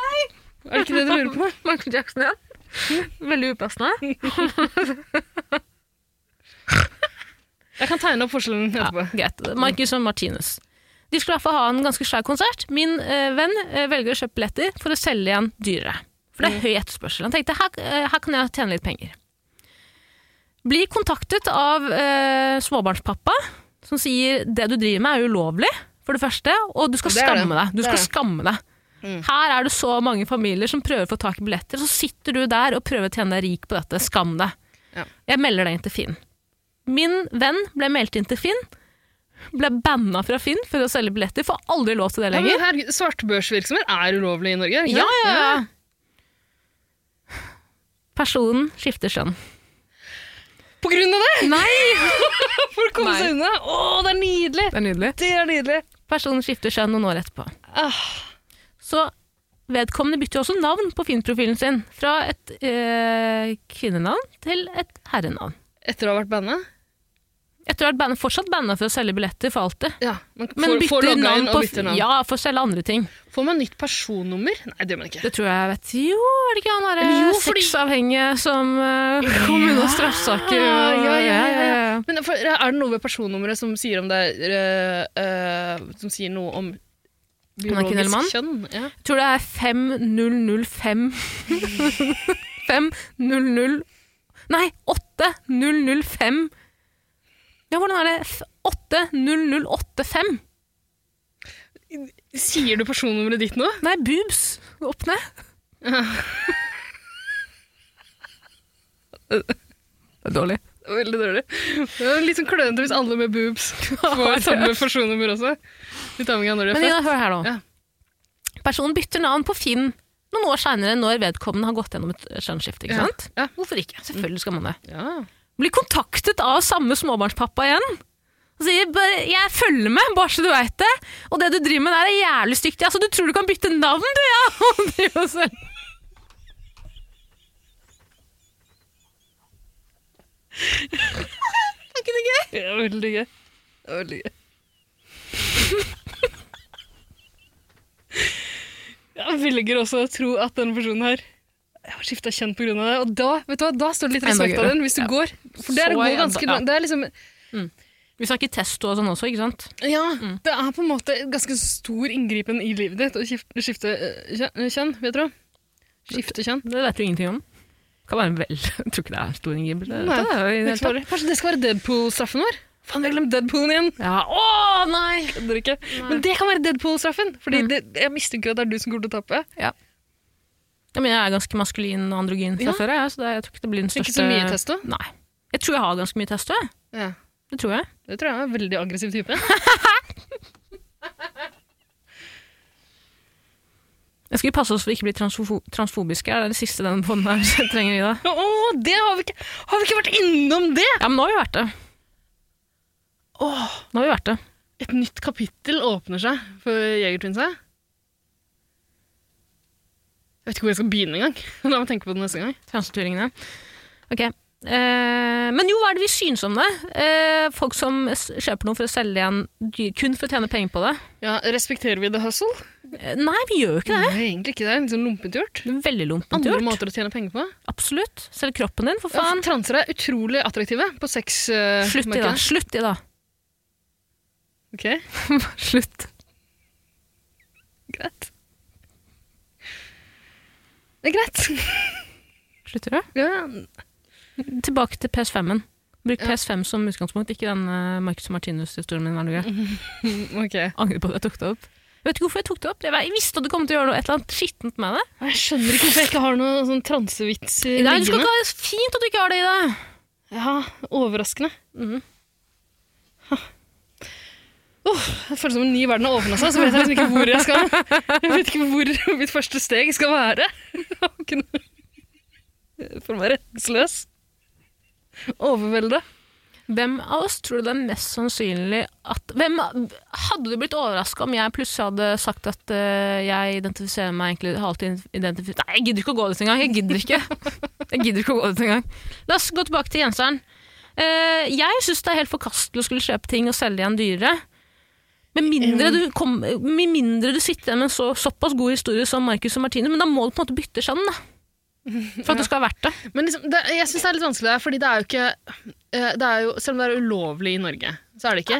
C: Nei! Er det ikke det du lurer på?
A: (laughs) Michael Jackson, ja. Veldig upassende.
C: (laughs) Jeg kan tegne opp forskjellen
A: (laughs)
C: etterpå.
A: Greit. Marcus og Martinus. De skulle i hvert fall ha en ganske svær konsert. Min eh, venn eh, velger å kjøpe billetter for å selge igjen dyrere. For det
C: Mm.
A: er høy etterspørsel. Han tenkte her, eh, her kan jeg tjene litt penger. Blir kontaktet av eh, småbarnspappa, som sier det du driver med er ulovlig, for det første, og du skal
C: Det er det.
A: skamme deg. Du
C: Det er
A: skal
C: det. Mm.
A: skamme deg. Her er det så mange familier som prøver å få tak i billetter, så sitter du der og prøver å tjene deg rik på dette. Skam deg.
C: Ja.
A: Jeg melder deg inn til Finn. Min venn ble meldt inn til Finn. Ble banna fra Finn for å selge billetter. Får aldri lov til det
C: Ja, men
A: lenger.
C: herregud, Svartebørsvirksomhet er ulovlig i Norge? er det ikke
A: Ja,
C: det?
A: ja, ja. Personen skifter skjønn.
C: På grunn av det!
A: Nei!
C: For å komme
A: Nei.
C: seg unna! Å, det er nydelig!
A: Det er nydelig.
C: Det er nydelig.
A: Personen skifter skjønn noen år etterpå.
C: Ah,
A: Så vedkommende bytter jo også navn på Finn-profilen sin. Fra et eh, kvinnenavn til et herrenavn.
C: etter å ha vært banna?
A: Etter å ha vært banna- fortsatt banna for å selge billetter for alltid.
C: Ja. Man får,
A: Men
C: får
A: bytter
C: logga
A: navn
C: inn
A: på
C: og bytter navn.
A: Ja, for å selge andre ting.
C: Får man nytt personnummer? Nei, det gjør man ikke.
A: Det tror jeg jeg vet. Jo, er det ikke han
C: Eller jo,
A: derre
C: fordi-
A: sexavhengige som eh, kom unna straffesaker?
C: Ja,
A: og-
C: ja, ja, ja, ja.
A: ja, ja.
C: Men for, er det noe ved personnummeret som sier, om det er, eh, eh, som sier noe om
A: Martin Ellemann?
C: biologisk kjønn? Ja.
A: Jeg tror det er 5005 (laughs) 5000 Nei, 8005 Ja, hvordan er det? F- 80085
C: Sier du personnummeret ditt nå?
A: Nei, boobs. Opp
C: (laughs)
A: ned. Det er dårlig.
C: Veldig dårlig. Det er litt sånn klønete hvis alle med
A: (laughs)
C: boobs får samme personnummer også. Vi tar med gang når de er
A: Men Ina,
C: født.
A: hør her nå.
C: Ja.
A: Personen bytter navn på Finn noen år seinere når vedkommende har gått gjennom et skjønnsskifte. ikke
C: Ja,
A: sant?
C: ja.
A: Hvorfor ikke? Selvfølgelig skal man det.
C: Ja.
A: Blir kontaktet av samme småbarnspappa igjen. Og sier bare 'jeg følger med, bare så du veit det', og det du driver med der er jævlig stygt. Altså, du tror du kan bytte navn, du, ja! (laughs) Og driver og selger. Er ikke det gøy?
C: Det er veldig gøy. Det er veldig gøy. (laughs) Jeg velger også å tro at denne personen her jeg har skifta kjønn pga. det. Og da, vet du hva, da står det litt
A: Enda
C: respekt av
A: gøyere.
C: den hvis du
A: Ja.
C: går. For det er,
A: Så
C: å gå
A: enda-
C: ganske
A: ja.
C: langt. Det er liksom
A: Vi snakker testo og sånn også, ikke sant?
C: Ja,
A: Mm.
C: det er på en måte et ganske stor inngripen i livet ditt å skif- skifte eh, kjø- eh, kjønn, vet du. Skifte kjønn.
A: Det vet du ingenting om. Kan være vel. Jeg (laughs) tror ikke det er stor inngripelse.
C: Nei,
A: Det er jo i det hele tatt.
C: Kanskje det skal være Deadpool-straffen vår? Faen, vi har glemt Deadpoolen igjen!
A: Ja. Å, nei! Mm.
C: Kødder ikke. Men det kan være Deadpool-straffen, Fordi det, jeg mistenker at det er du som kommer til å tape.
A: Jeg, mener, jeg er ganske maskulin og androgyn fra
C: Ja.
A: før, jeg, så det, jeg tror ikke det blir den
C: Ikke
A: største
C: så mye testo.
A: Nei. Jeg tror jeg har ganske mye testo. jeg.
C: Ja.
A: Det tror jeg.
C: (laughs) Det tror jeg er en veldig aggressiv type.
A: Jeg skal vi passe oss for å ikke bli transfo transfobiske? Er det det siste den bånden her (laughs) trenger i dag?
C: Å, det har vi, ikke, har vi ikke vært innom det?
A: Ja, men nå har vi vært det.
C: Åh,
A: Nå har vi vært det.
C: et nytt kapittel åpner seg for Jegertvinset. Jeg vet ikke hvor jeg skal begynne engang. (laughs) La meg tenke på det neste gang.
A: Transeturingene. Ok. Eh, men jo, hva er det vi syns om det? Eh, folk som s- kjøper noe for å selge igjen dyr, kun for å tjene penger på det?
C: Ja, Respekterer vi The Hustle?
A: Eh, nei, vi gjør jo ikke det.
C: Nei, egentlig ikke. Det er litt sånn lumpent gjort.
A: Det er Veldig lumpent
C: Andre
A: gjort.
C: måter å tjene penger på.
A: Absolutt. Selg kroppen din, for
C: Ja, for
A: faen.
C: transer er utrolig attraktive på sex... eh,
A: Slutt i det.
C: markedet.
A: Slutt i det.
C: Ok,
A: Slutt.
C: greit. Det er greit.
A: Slutter du?
C: Ja,
A: Tilbake til PS5-en. Bruk
C: Ja.
A: PS5 som utgangspunkt, ikke den eh, Marcus Martinus-historien min. var det greit?
C: ok.
A: Angrer på at jeg tok det opp. Jeg vet ikke hvorfor jeg tok det opp. Jeg var- Jeg visste at du kom til å gjøre noe et eller annet skittent med det.
C: Jeg skjønner ikke hvorfor jeg ikke har noen sånn transevits i
A: Nei, du skal
C: liggende.
A: ikke ha det fint at du ikke har det i deg.
C: Ja, overraskende.
A: Mhm.
C: Åh, det føles som en ny verden har åpnet seg, så vet jeg liksom ikke hvor jeg skal. Jeg vet ikke hvor mitt første steg skal være. Jeg har ikke noe- Jeg føler meg rettsløs. Overveldet.
A: Hvem av oss tror du det er mest sannsynlig at hvem, Hadde du blitt overraska om jeg plutselig hadde sagt at eh, jeg identifiserer meg egentlig har alltid identif Nei, jeg gidder ikke å gå dit engang! Jeg gidder ikke Jeg gidder ikke å gå dit engang. La oss gå tilbake til genseren. Eh, jeg syns det er helt forkastelig å skulle kjøpe ting og selge igjen dyrere. Med mindre du, kom, med mindre du sitter igjen med en så, såpass god historie som Marcus og Martine, men da må du på en måte bytte skjønn, da. For at det skal være verdt det.
C: Men liksom, det, jeg synes det er litt vanskelig der, fordi det er jo ikke eh, det er jo, Selv om det er ulovlig i Norge, så er det ikke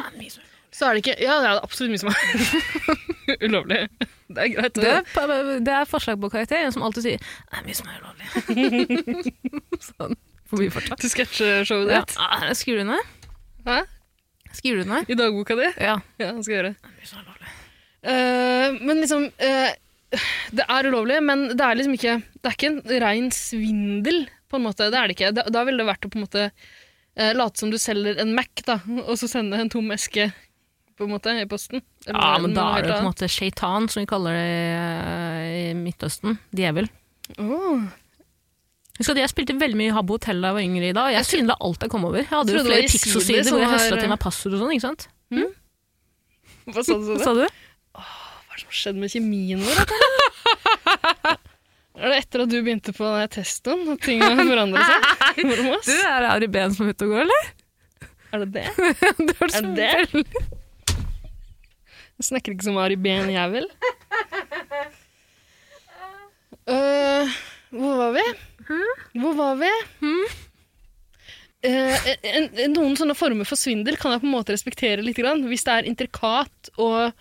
C: så er det ikke, Ja, det er absolutt mye som er (laughs) ulovlig. Det er greit.
A: Det er, pa- det er forslag på karakter, en som alltid sier Det er mye som er ulovlig. (laughs) sånn. Får vi fortsatt.
C: Til sketsjeshowet
A: Ja.
C: ditt.
A: Ah, Skriver du ned?
C: Hæ?
A: Skriver du ned?
C: I dagboka di?
A: Ja.
C: Ja, det skal jeg gjøre.
A: Det er mye som er ulovlig.
C: Eh, men liksom eh, Det er ulovlig, men det er liksom ikke Det er ikke en rein svindel, på en måte. Det er det ikke. Da, da ville det vært å på en måte eh, late som du selger en Mac, da, og så sende en tom eske på en måte, i posten.
A: Ja, men da er det jo på en måte shaitan, som vi kaller det eh, i Midtøsten. Djevel.
C: Åh.
A: Husk at Jeg spilte veldig mye Habbo Hotel da jeg var yngre i dag. og Jeg svindla alt jeg kom over. Jeg hadde jo
C: trodde det
A: flere
C: var Jeside
A: Pixo-sider hvor jeg
C: som
A: høsla
C: var-
A: til meg passord og sånn. ikke sant?
C: Hva sa du så det?
A: Sa du?
C: Hva er det som har skjedd med kjemien vår? dette?
A: (laughs)
C: er det etter at du begynte på den her testoen at ting har forandret
A: (laughs)
C: seg? mellom oss?
A: Du, er det Ari Behn som er ute og går, eller? (laughs)
C: Er det det?
A: Det høres
C: Er det?
A: veldig-
C: Jeg snakker ikke som Ari Ben jeg (laughs) vil. Øh, hvor var vi? Hvor var vi? Eh, en, en, noen sånne former for svindel kan jeg på en måte respektere litt, grann, hvis det er intrikat og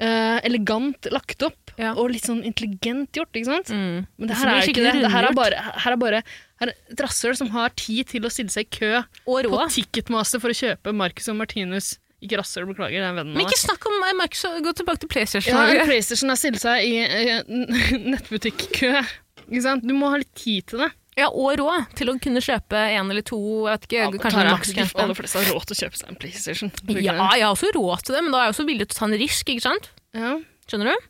C: eh, elegant lagt opp,
A: Ja.
C: og litt sånn intelligent gjort, ikke sant?
A: Mm.
C: Men det
A: Som blir
C: her er jo ikke
A: skikkelig
C: det. Det her er
A: rundgjort.
C: bare, her er bare her er et rasshøl som har tid til å stille seg i kø
A: Og
C: på
A: råd.
C: Ticketmaster for å kjøpe Marcus og Martinus. Ikke rasshøl, beklager, det er vennen
A: Men
C: av
A: ikke
C: meg.
A: snakk om eh, Marcus, gå tilbake til PlayStation.
C: Ja,
A: Norge.
C: en PlayStation har stilt seg i eh, n- nettbutikkø. Ikke sant? Du må ha litt tid til det.
A: Ja, og råd til å kunne kjøpe en eller to, jeg vet ikke, kanskje
C: Tara,
A: maks
C: de
A: kanskje
C: aller
A: en.
C: fleste har råd til å kjøpe seg en PlayStation. Tror du
A: Ja,
C: ikke
A: jeg har også råd til det, men da er jeg også villig til å ta en risk, ikke sant?
C: det? ja.
A: Skjønner du?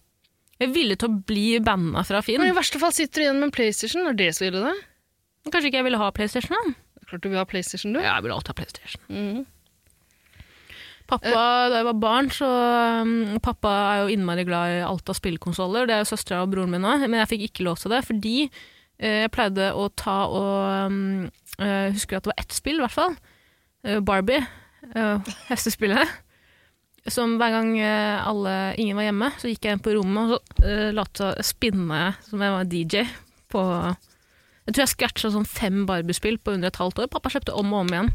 A: Jeg er villig til å bli banna fra
C: Men
A: Finn.
C: i verste fall sitter du igjen med en PlayStation. Er det så ille, da?
A: Kanskje ikke jeg ville ha PlayStation, da?
C: Klart du vil ha PlayStation, du.
A: Ja, jeg ville alltid ha PlayStation. Eh.
C: Mhm.
A: Pappa, da jeg var barn, så um, Pappa er jo innmari glad i alt av spillkonsoller. Det er jo søstera og broren min òg, men jeg fikk ikke lov til det fordi eh, jeg pleide å ta og um, eh, Husker at det var ett spill, i hvert fall. Eh, Barbie. eh, hestespillet. Som hver gang eh, alle, ingen var hjemme, så gikk jeg inn på rommet og så uh, lot jeg spinne som jeg var DJ på Jeg tror jeg scratcha sånn fem Barbie-spill på under et halvt år. Pappa kjøpte om og om igjen.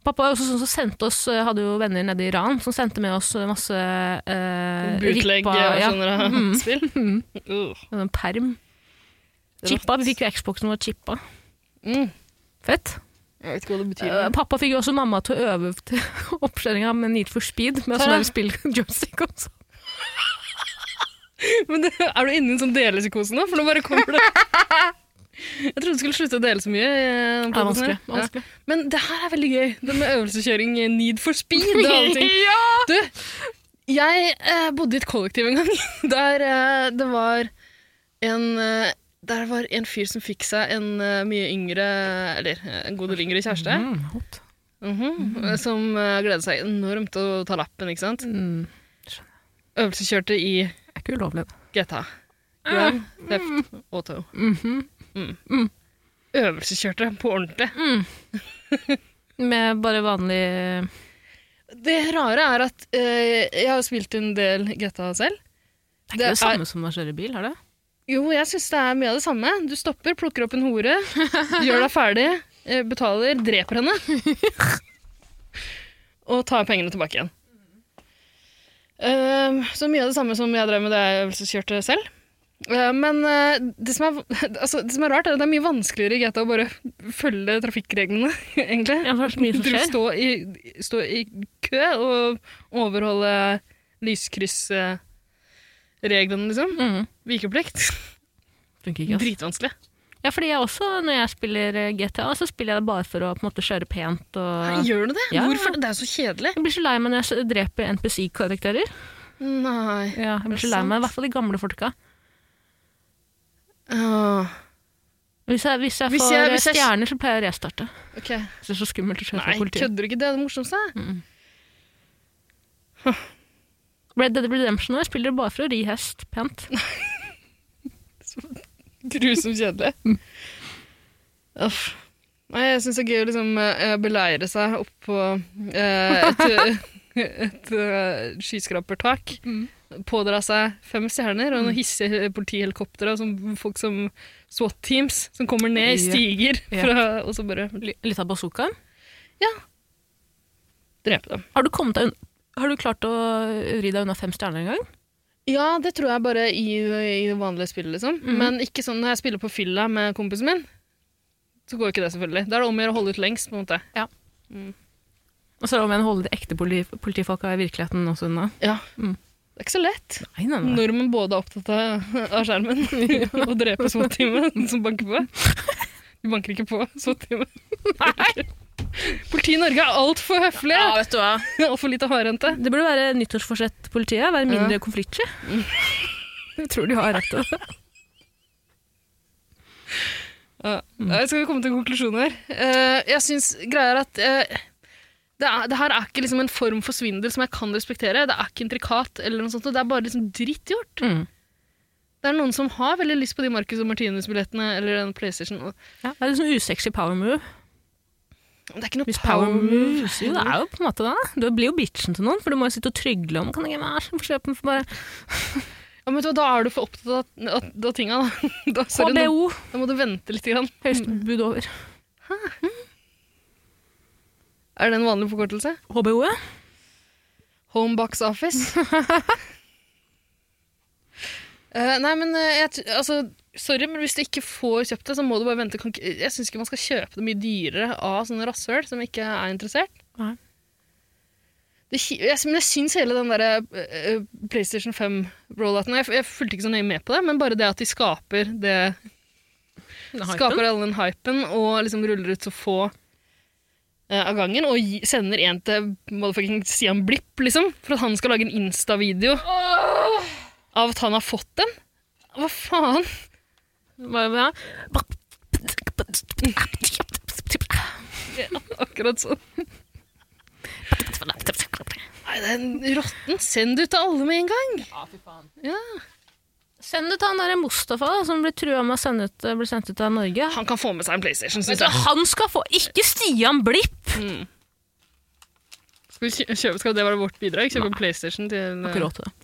A: Pappa var også sånn som sendte oss, eh, hadde jo venner nede i Iran, som sendte med oss masse eh,
C: Bootlegg
A: rippa-
C: og
A: ja,
C: sånne
A: Mhm.
C: (laughs) spill.
A: Mhm.
C: Uh.
A: en perm.
C: Det er
A: Chippa, vi fikk jo Xboxen vår chippa.
C: Mm.
A: Fett.
C: Jeg vet ikke hva det betyr.
A: Eh, pappa fikk jo også mamma til å øve til (laughs) oppkjøringa med Need for Speed med
C: Tara.
A: sånn (laughs) spill-joystick også.
C: (laughs) Men det, er du inne i en sånn delepsykose nå? For nå bare
A: (laughs)
C: kommer det Jeg trodde du skulle slutte å dele så mye. eh, på
A: Det er
C: podcasten
A: vanskelig.
C: her.
A: (laughs) vanskelig. (laughs)
C: Ja. Men det her er veldig gøy. Det med øvelseskjøring, eh, need for speed og allting.
A: ja!
C: Du, Jeg eh, bodde i et kollektiv en gang, (laughs) der eh, det var en eh, der var en fyr som fikk seg en eh, mye yngre, eller eh, en god del yngre kjæreste,
A: Mm, hot.
C: mhm, eh, som eh, gledet seg enormt til å ta lappen, ikke sant?
A: Mm,
C: Øvelseskjørte i
A: er ikke ulovlig.
C: GTA. Grand Theft Auto.
A: Mhm.
C: Mm. Øvelseskjørte på ordentlig.
A: Med bare vanlig
C: Det rare er at eh, jeg har jo spilt en del GTA selv.
A: Det er ikke
C: Det
A: det,
C: er-
A: samme som å kjøre bil, er det?
C: Jo, jeg syns det er mye av det samme. Du stopper, plukker opp en hore, gjør deg ferdig, eh, betaler, dreper henne. (laughs) Og tar pengene tilbake igjen. Ehm, så mye av det samme som jeg drev med da jeg øvelseskjørte selv. Eh, men eh, det, som er, (laughs) altså, det som er rart, er at det er mye vanskeligere i GTA å bare følge trafikkreglene, (laughs) egentlig.
A: Ja, for det er så (laughs) mye som
C: Du
A: skjer.
C: stå i, stå i kø og overholde lyskryssreglene, liksom.
A: Mm.
C: Vikeplikt.
A: Funker ikke, altså. ass.
C: Dritvanskelig.
A: Ja, fordi jeg også, når jeg spiller eh, GTA, så spiller jeg det bare for å på en måte kjøre pent og
C: Gjør du det?
A: Ja, ja.
C: Hvorfor? Det er jo så kjedelig.
A: jeg blir så lei meg når jeg s- dreper NPC-karakterer.
C: Nei.
A: Ja, jeg blir
C: det
A: så lei
C: sant?
A: meg, I hvert fall de gamle folka.
C: Åh.
A: Hvis jeg, hvis jeg
C: Hvis
A: får
C: jeg-
A: eh,
C: hvis jeg-
A: stjerner, så pleier jeg å restarte.
C: Ok.
A: Jeg synes Det er så skummelt å kjøre
C: Nei,
A: fra politiet. Mm.
C: kødder du ikke? Det er det morsomste.
A: Red Dead Redemption nå, jeg spiller det bare for å ri hest pent.
C: Grusomt
A: (laughs)
C: kjedelig. Uff. Nei, jeg syns det er gøy å liksom, eh, beleire seg oppå
A: (laughs)
C: eh, et, et eh, skyskrapertak.
A: Mm.
C: Pådra seg fem stjerner og noen hissige politihelikoptre og sånn folk som SWAT-teams som kommer ned i
A: Ja.
C: stiger
A: Ja.
C: fra, og så bare
A: Litt av bazookaen.
C: drepe dem.
A: Har du, kommet deg unn- har du klart å ri deg unna fem stjerner en gang?
C: Ja, det tror jeg bare i, i det vanlige spillet, liksom.
A: Mhm.
C: Men ikke sånn når jeg spiller på fylla med kompisen min. Så går jo ikke det, selvfølgelig. Da er det om å gjøre å holde ut lengst, på en måte.
A: Og så er det om igjen å holde de ekte poli politifolka i virkeligheten også unna.
C: Ja.
A: Mm.
C: Det er ikke så lett.
A: Nei, nei, nei.
C: Når man både er opptatt av, av
A: (laughs)
C: skjermen (laughs) og dreper SWAT-teamet (laughs) som banker på. De banker ikke på SWAT-teamet.
A: (laughs) Nei.
C: Politiet i Norge er altfor høflige!
A: vet du hva.
C: (laughs) Altfor lite hardhendte.
A: Det burde være nyttårsforsett politiet, være mindre (laughs) konfliktsky. Jeg tror de har rett til det.
C: Ja.
A: Mm.
C: Eh, Skal vi komme til en konklusjon her? Eh, Jeg synes greia er at eh, det, er, det her er ikke liksom en form for svindel som jeg kan respektere. Det er ikke intrikat, eller noe sånt, og det er bare liksom dritt gjort.
A: Mm.
C: Det er noen som har veldig lyst på de Marcus og Martinus-billettene eller den PlayStation. og-
A: Ja, det er litt sånn usexy power move.
C: Det er ikke noe
A: Hvis power move Jo, det
C: heller.
A: er jo på en måte det. da. Du blir jo bitchen til noen, for du må jo sitte og trygle om Kan jeg være så forkjøpen for bare
C: Ja, men vet du hva, da er du for opptatt av- av av tinga, da. (laughs) Da, sorry, nå,
A: HBO!
C: da må du vente litt. Grann.
A: Høyeste bud over.
C: Er det en vanlig forkortelse?
A: HBO, ja.
C: Home box office. Eh, nei, men eh, jeg, t- altså, sorry, men hvis du ikke får kjøpt det, så må du bare vente. Kan ikke- Jeg syns ikke man skal kjøpe det mye dyrere av sånne rasshøl som ikke er interessert.
A: Nei.
C: Det, ki- jeg, men jeg syns hele den der eh, eh, PlayStation 5-rollouten jeg, jeg fulgte ikke så nøye med på det, men bare det at de skaper det Skaper alle den hypen og liksom ruller ut så få eh, av gangen. Og gi, sender en til motherfucking Stian Blipp, liksom, for at han skal lage en Insta-video av at han har fått den. Hva faen?
A: Bare, ja.
C: (laughs) Akkurat sånn. Nei, det er en rotten. Send det ut til alle med en gang.
A: Send det til han derre Mustafa da, som ble trua med å sende ut, bli sendt ut av Norge.
C: Han kan få med seg en PlayStation,
A: Vet
C: syns
A: du,
C: jeg.
A: han skal få Ikke Stian Blipp!
C: Skal, vi kjø- kjøpe, skal det være vårt bidrag? Kjøpe en eh, PlayStation til
A: Har ikke råd til det.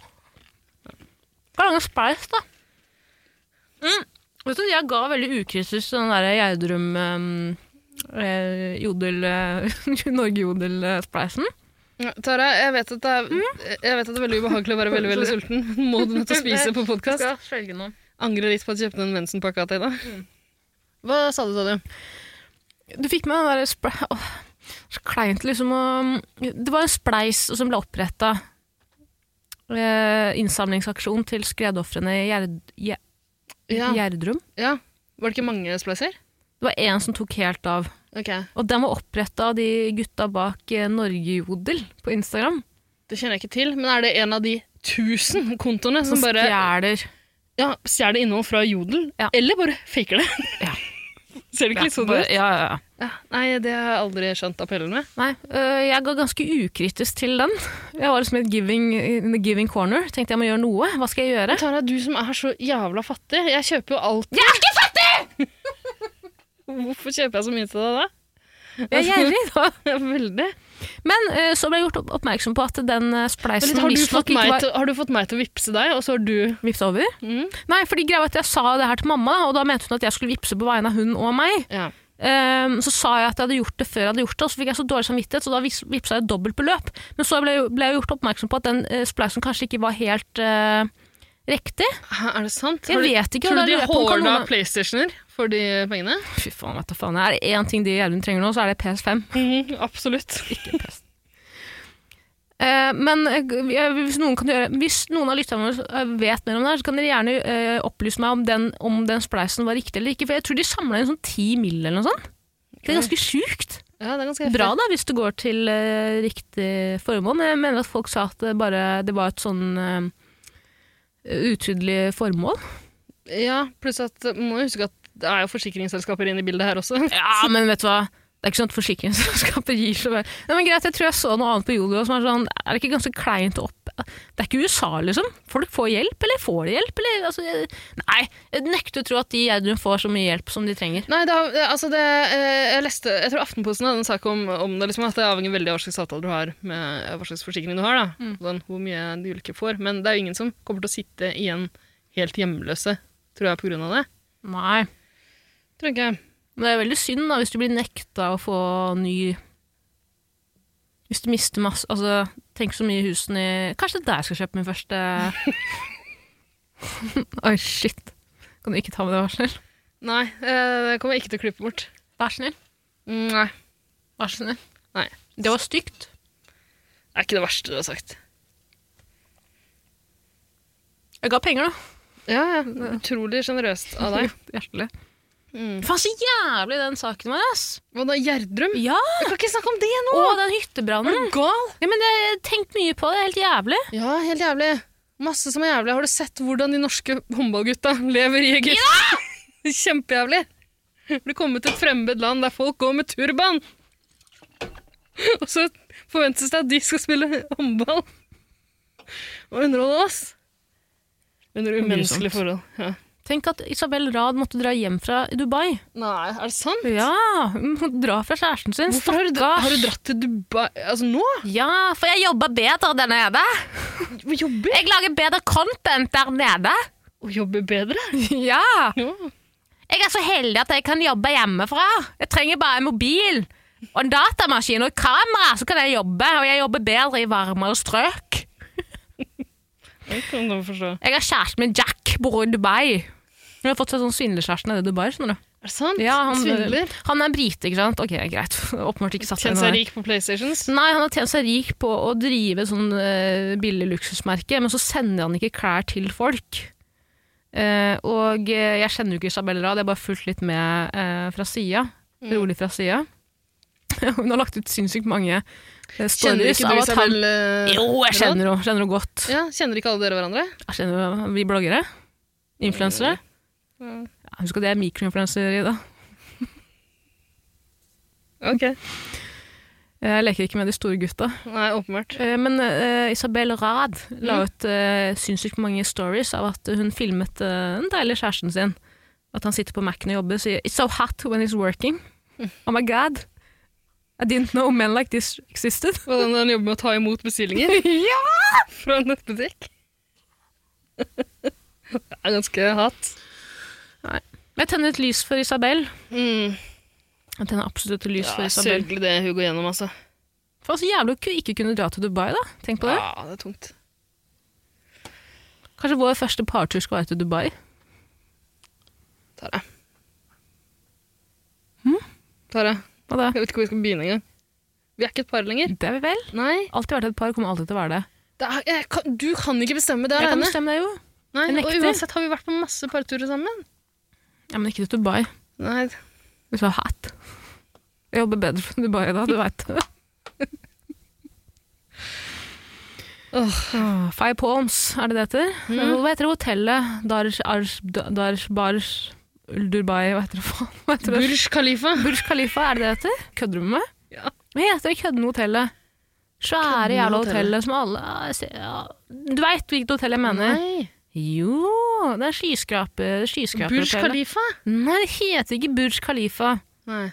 A: Hva er det med spleis, da? Mm. Vet du, jeg ga veldig ukritisk den der Gjerdrum um, eh, Jodel eh, (laughs) Norge-jodel-spleisen.
C: Ja, Tara, jeg vet, at det er, jeg vet at det er veldig ubehagelig å være veldig (laughs) veldig sulten. Må du nødt til å spise på podkast?
A: svelge noe.
C: Angrer litt på at jeg kjøpte den Wensen-pakka til deg. Mm. Hva sa du, sa du?
A: Du fikk med den der sple- Åh, Så kleint, liksom. å- det var en spleis som ble oppretta. Eh, innsamlingsaksjon til skredofrene i Gjerd, Gje-
C: Ja.
A: Gjerdrum.
C: ja. Var det ikke mange spleiser?
A: Det var én som tok helt av.
C: Ok.
A: Og den var oppretta av de gutta bak eh, Norgejodel på Instagram.
C: Det kjenner jeg ikke til, men er det en av de tusen kontoene som
A: Som
C: bare
A: stjeler
C: ja, stjeler innhold fra Jodel?
A: Ja.
C: Eller bare faker det?
A: Ja.
C: (laughs) Ser det ikke
A: ja,
C: litt sånn
A: bare-
C: ut?
A: ja, ja, ja.
C: Ja. Nei, det har jeg aldri skjønt appellen med.
A: Nei, øh, jeg ga ganske ukritisk til den. Jeg var liksom i et giving, in the giving corner. Tenkte jeg må gjøre noe. Hva skal jeg gjøre?
C: Tara, du som er så jævla fattig. Jeg kjøper jo alt.
A: Jeg er ikke fattig!
C: Hvorfor kjøper jeg så mye til deg da? (laughs)
A: Jeg er gjerrig, da.
C: Veldig.
A: Men øh, så ble jeg gjort opp- oppmerksom på at den øh,
C: Men
A: spleisen
C: litt, har, du
A: visstnok
C: fått
A: ikke
C: meg
A: var
C: til, har du fått meg til å vippse deg, og så har du
A: vippet over.
C: Mm.
A: Nei, fordi greia var at jeg sa det her til mamma, og da mente hun at jeg skulle vippse på vegne av hun og meg.
C: ja.
A: Ehm, så sa jeg at jeg hadde gjort det før jeg hadde gjort det, og så fikk jeg så dårlig samvittighet, så da vis- vippsa jeg dobbelt beløp. Men så ble, jeg- ble jeg gjort oppmerksom på at den eh, spleisen kanskje ikke var helt eh, riktig.
C: Hæ, Er det sant?
A: Jeg
C: Har du-
A: vet ikke,
C: Tror
A: og da
C: du de
A: lurer jeg på om kan
C: horda
A: noen-
C: PlayStationer for de pengene?
A: Fy faen, vet du faen. Er det én ting de jævlene trenger nå, så er det PS5. Mhm.
C: (laughs) absolutt.
A: Ikke PS. Eh, men eh, jeg- hvis noen, kan gjøre, hvis noen av lytterne våre eh, vet mer om det, her, så kan dere gjerne eh, opplyse meg om den, om den spleisen var riktig eller ikke. For jeg tror de samla inn sånn ti mill. eller noe sånt. Det er ganske sjukt.
C: Ja, det er ganske heftig.
A: Bra da, hvis det går til eh, riktig formål. Men jeg mener at folk sa at det, bare, det var et sånn eh, utydelig formål.
C: Ja, pluss at uh, må jo huske at det er jo forsikringsselskaper inne i bildet her også. (laughs)
A: Ja, men vet du hva? Det er ikke sånn at (laughs) forsikringsselskapet gir så vel. Nei, men greit, Jeg tror jeg så noe annet på Jodel som er sånn Er det ikke ganske kleint opp Det er ikke USA, liksom. Folk får hjelp, eller får de hjelp? Eller, altså, jeg- nei, jeg nekter å tro at de jævlene får så mye hjelp som de trenger.
C: Nei, det, har- det- altså det, eh, jeg leste, jeg tror Aftenposten hadde en sak om, om det, liksom, at det avhenger veldig av hva slags avtale du har, med hva slags forsikring du har, da.
A: Mm.
C: Sånn, hvor mye de ulike får. Men det er jo ingen som kommer til å sitte igjen helt hjemløse, tror jeg, på grunn av det.
A: Nei.
C: Tror jeg ikke.
A: Men det er veldig synd da, hvis du blir nekta å få ny Hvis du mister masse Altså, tenk så mye husen i Kanskje det er der jeg skal kjøpe min første Oi, shit. Kan du ikke ta med det, vær så snill?
C: Nei, eh, det kommer jeg ikke til å klippe bort.
A: Vær så snill.
C: Mm, Nei,
A: Vær så snill.
C: Nei.
A: Det var stygt.
C: det er ikke det verste du har sagt.
A: Jeg ga penger, da.
C: Ja, ja. Utrolig sjenerøst av deg.
A: (laughs) Hjertelig.
C: Mm.
A: Faen, så jævlig den saken var, ass!
C: (laughs) Hva da, Gjerdrum?
A: Ja!
C: Jeg kan ikke snakke om det nå!
A: Og den hyttebrannen.
C: gal?
A: Ja, men jeg har tenkt mye på det. det er Helt jævlig.
C: Ja, helt jævlig. Masse som er jævlig. Har du sett hvordan de norske håndballgutta lever i Egypt? (laughs) Kjempejævlig. Har du kommet til et fremmed land der folk går med turban? (laughs) Og så forventes det at de skal spille håndball og underholde oss. Under umenneskelige forhold. Ja.
A: Tenk at Isabel Rad måtte dra hjem fra Dubai.
C: Nei, er det sant?
A: Ja, Hun måtte dra fra kjæresten sin.
C: Hvorfor har du, dra-
A: Stakkars.
C: har du dratt til Dubai Altså nå?
A: Ja, for jeg jobber bedre der nede.
C: Hva jobber?
A: Jeg lager bedre content der nede.
C: Å jobbe bedre?
A: Ja.
C: (laughs)
A: Jeg
C: Ja.
A: er så heldig at jeg kan jobbe hjemmefra. Jeg trenger bare en mobil og en datamaskin og et kamera, så kan jeg jobbe. Og jeg jobber bedre i varmere strøk.
C: Det kan du forstå.
A: Jeg har kjæresten min Jack, bor i Dubai. Hun har fått seg sånn svindlerkjæreste nede i Dubai. skjønner du?
C: Er det sant?
A: Ja, han,
C: Svindler?
A: han er brite, ikke sant? Ok, greit. (laughs) Åpenbart ikke satt
C: Tjent
A: henne
C: seg
A: der.
C: rik på PlayStations?
A: Nei, han har tjent seg rik på å drive sånn eh, billig luksusmerke, men så sender han ikke klær til folk. Eh, og eh, jeg kjenner jo ikke Isabel Rad, jeg har bare fulgt litt med eh, fra sida.
C: Mm.
A: Rolig fra sida. (laughs) Hun har lagt ut sinnssykt mange eh,
C: Kjenner
A: stories
C: ikke du
A: av at han
C: Isabel eh,
A: Jo, jeg
C: Rad?
A: kjenner henne kjenner henne godt.
C: Ja, Kjenner ikke alle dere hverandre?
A: Jeg kjenner jo- vi bloggere. Influensere.
C: Ja.
A: Ja, Husk at jeg er mikroinfluenser, Ida.
C: Ok.
A: Jeg leker ikke med de store gutta.
C: Nei, åpenbart.
A: Eh, Men eh, Isabel Rad la ut eh, sinnssykt mange stories av at hun filmet eh, den deilige kjæresten sin. At han sitter på Mac-en og jobber og sier «It's so hot when he's working». Oh my god. I didn't know men like this existed.
C: Og den, den jobber med å ta imot bestillinger
A: (laughs) ja!
C: fra en nettbutikk. det er ganske hatt.
A: Jeg tenner et lys for Isabel.
C: Mm.
A: Jeg tenner absolutt et lys
C: Ja,
A: for Isabel.
C: Sørgelig det hun går gjennom, altså.
A: For så jævlig å ku- ikke kunne dra til Dubai da. Tenk på det.
C: Ja, det er tungt.
A: Kanskje vår første partur skal være til Dubai.
C: Tara.
A: Hm?
C: Tara,
A: Hva da?
C: jeg vet ikke hvor vi skal begynne engang. Vi er ikke et par lenger.
A: Det er vi vel.
C: Nei.
A: Alltid vært et par, kommer alltid til å være det.
C: Det er, jeg kan, du kan ikke bestemme det
A: Jeg kan
C: alene.
A: bestemme det jo.
C: Nei,
A: jeg
C: og
A: nekter.
C: uansett har vi vært på masse parturer sammen.
A: Ja, men ikke til Dubai.
C: Nei,
A: It's so hot. Jeg jobber bedre fra Dubai da, du veit det.
C: Åh,
A: Ah, Five Palms, er det det heter?
C: Mm.
A: Hva heter det hotellet? Darsh, Arsh, Da- Darsh, Barsh, Dubai, hva heter det faen? Hva heter det?
C: Burj Khalifa.
A: Burj Khalifa, er det det heter? Kødder du med meg?
C: Ja.
A: Hva heter det køddende hotellet? Svære
C: Køddende
A: jævla
C: hotellet.
A: hotellet som alle ah, se- ja. Du veit hvilket hotell jeg mener?
C: Nei.
A: Jo, det er skyskraper,
C: Burj
A: skyskraperhotellet.
C: Khalifa?
A: Nei, det heter ikke Burj Khalifa.
C: Nei.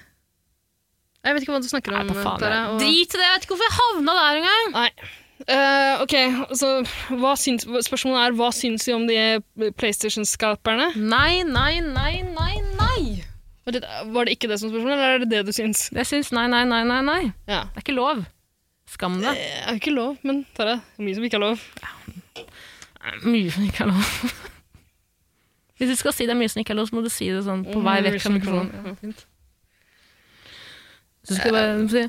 C: Jeg vet ikke hva du snakker
A: Nei,
C: om.
A: da faen.
C: Tara, og-
A: Drit i det, jeg vet ikke hvorfor jeg havna der engang!
C: Nei. Eh, ok, så hva syns, Spørsmålet er hva syns vi om de eh, PlayStation-skaperne?
A: Nei, nei, nei, nei, nei!
C: Var det, var det ikke det som spørsmålet, eller er det det du syns?
A: Jeg syns nei, nei, nei, nei, nei.
C: Ja.
A: Det er ikke lov. Skam deg.
C: Det er jo ikke lov, men Tara, det er mye som ikke er lov.
A: Mye som ikke er lov. Hvis du skal si det er mye som ikke er lov, så må du si det sånn
C: Mm,
A: på vei vekk fra mikrofonen. Så skal du bare si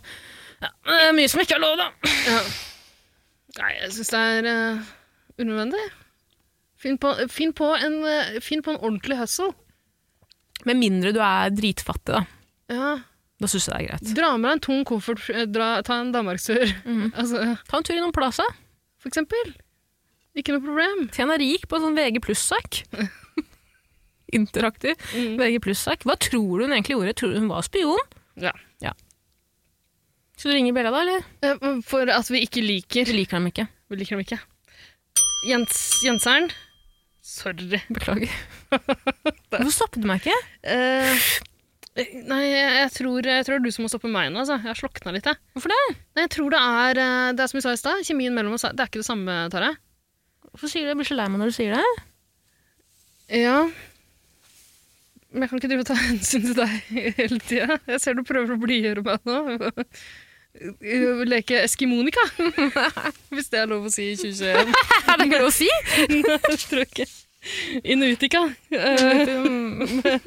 A: ja, men det er mye som ikke er lov, da.
C: Ja. Nei, jeg syns det er eh, unødvendig. Finn på, finn, på en, eh, finn på en ordentlig hustle.
A: Med mindre du er dritfattig, da.
C: Ja.
A: Da syns jeg det er greit.
C: Dra med deg en tung koffert, eh, dra, ta en danmarkstur. (laughs) Altså,
A: Ta en tur innom Plaza.
C: for eksempel. Ikke noe problem.
A: Tjen deg rik på en sånn VG
C: (laughs)
A: pluss-sak. Interaktiv
C: Mm.
A: VG pluss-sak. Hva tror du hun egentlig gjorde? Tror du hun var spion?
C: Ja.
A: Skal du ringe Bella, da, eller?
C: Eh, For at vi ikke liker
A: Vi liker dem ikke.
C: Vi liker dem ikke. Jens, Jenseren. Sorry.
A: (laughs) Beklager. Hvorfor stoppet du meg ikke?
C: Eh, nei, jeg tror, jeg tror det er du som må stoppe meg nå. Altså. Jeg har slokna litt. Jeg.
A: Hvorfor det?
C: Nei, jeg tror det er eh, Det er som vi sa i stad, kjemien mellom oss er- Det er ikke det samme, Tara.
A: Hvorfor sier du det? Jeg blir så lei meg når du sier det.
C: Ja. Men jeg kan ikke drive og ta hensyn til deg hele tida. Jeg ser du prøver å blidgjøre meg nå. Leke Eskimonika, (laughs) hvis det er lov å si i 2021.
A: (laughs) Er det ikke lov å (laughs) si?
C: (laughs) Nei, det tror jeg ikke. Inuitika. Eh,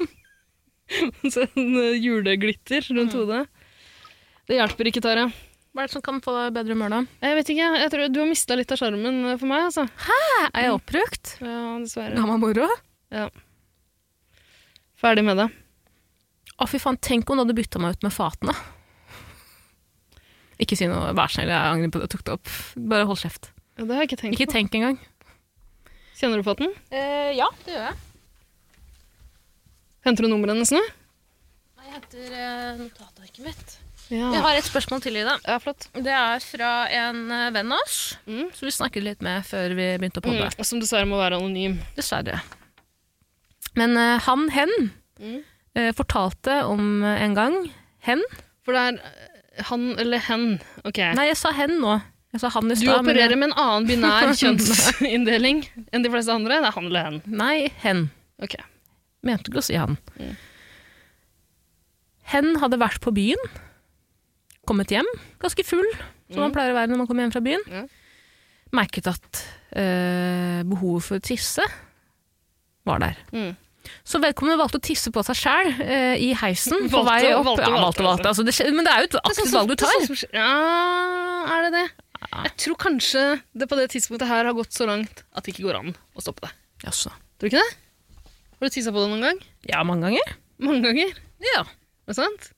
C: Sånn eh, juleglitter rundt hodet. Det hjelper ikke, Tara.
A: Hva er det som kan få deg i bedre humør, da?
C: Jeg vet ikke, jeg tror Du har mista litt av sjarmen eh, for meg, altså.
A: Er jeg oppbrukt?
C: Ja, dessverre.
A: Gammel moro?
C: Ferdig med det.
A: Å, fy faen, tenk om du hadde bytta meg ut med fatene. Ikke si noe, vær snill, jeg angrer på det jeg tok det opp. Bare hold kjeft.
C: Ja, det har jeg ikke tenkt
A: Ikke
C: på.
A: tenk engang.
C: Kjenner du på den?
A: Eh, ja, det gjør jeg.
C: Henter du nummeret hennes nå?
A: Jeg henter notatarket mitt.
C: Ja.
A: Jeg har et spørsmål til, Ida.
C: ja, flott.
A: Det er fra en eh, venn av oss,
C: Mm.
A: som vi snakket litt med før vi begynte å podde.
C: Mm, som dessverre må være anonym.
A: Dessverre. Men eh, han, hen,
C: Mm.
A: eh, fortalte om eh, en gang Hen?
C: For det er eh, han eller hen. Ok.
A: Nei, jeg sa hen nå. Jeg sa han i
C: du
A: stad. men
C: opererer med en annen binær kjønnsinndeling enn de fleste andre. Det er han eller hen.
A: jeg- Nei, hen.
C: Ok.
A: Mente ikke å si han.
C: Mm.
A: Hen hadde vært på byen, kommet hjem, ganske full, som man pleier å være når man kommer hjem fra byen.
C: Mm. Ja.
A: Merket at eh, behovet for å tisse var der.
C: Mm.
A: Så vedkommende valgte å tisse på seg sjæl eh, i heisen på
C: Valgte,
A: vei opp.
C: valgte,
A: ja,
C: valgte,
A: valgte, valgte. Altså, det, skje- men det er jo et
C: Det er
A: aktivt
C: sånn som-
A: valg du
C: det er
A: tar.
C: sånn som- Ja, er det det? Jeg tror kanskje det på det tidspunktet her har gått så langt at det ikke går an å stoppe det.
A: Jaså.
C: Tror du ikke det? Har du tissa på det noen gang?
A: Ja, mange ganger.
C: Mange ganger.
A: Ja.
C: Er det sant?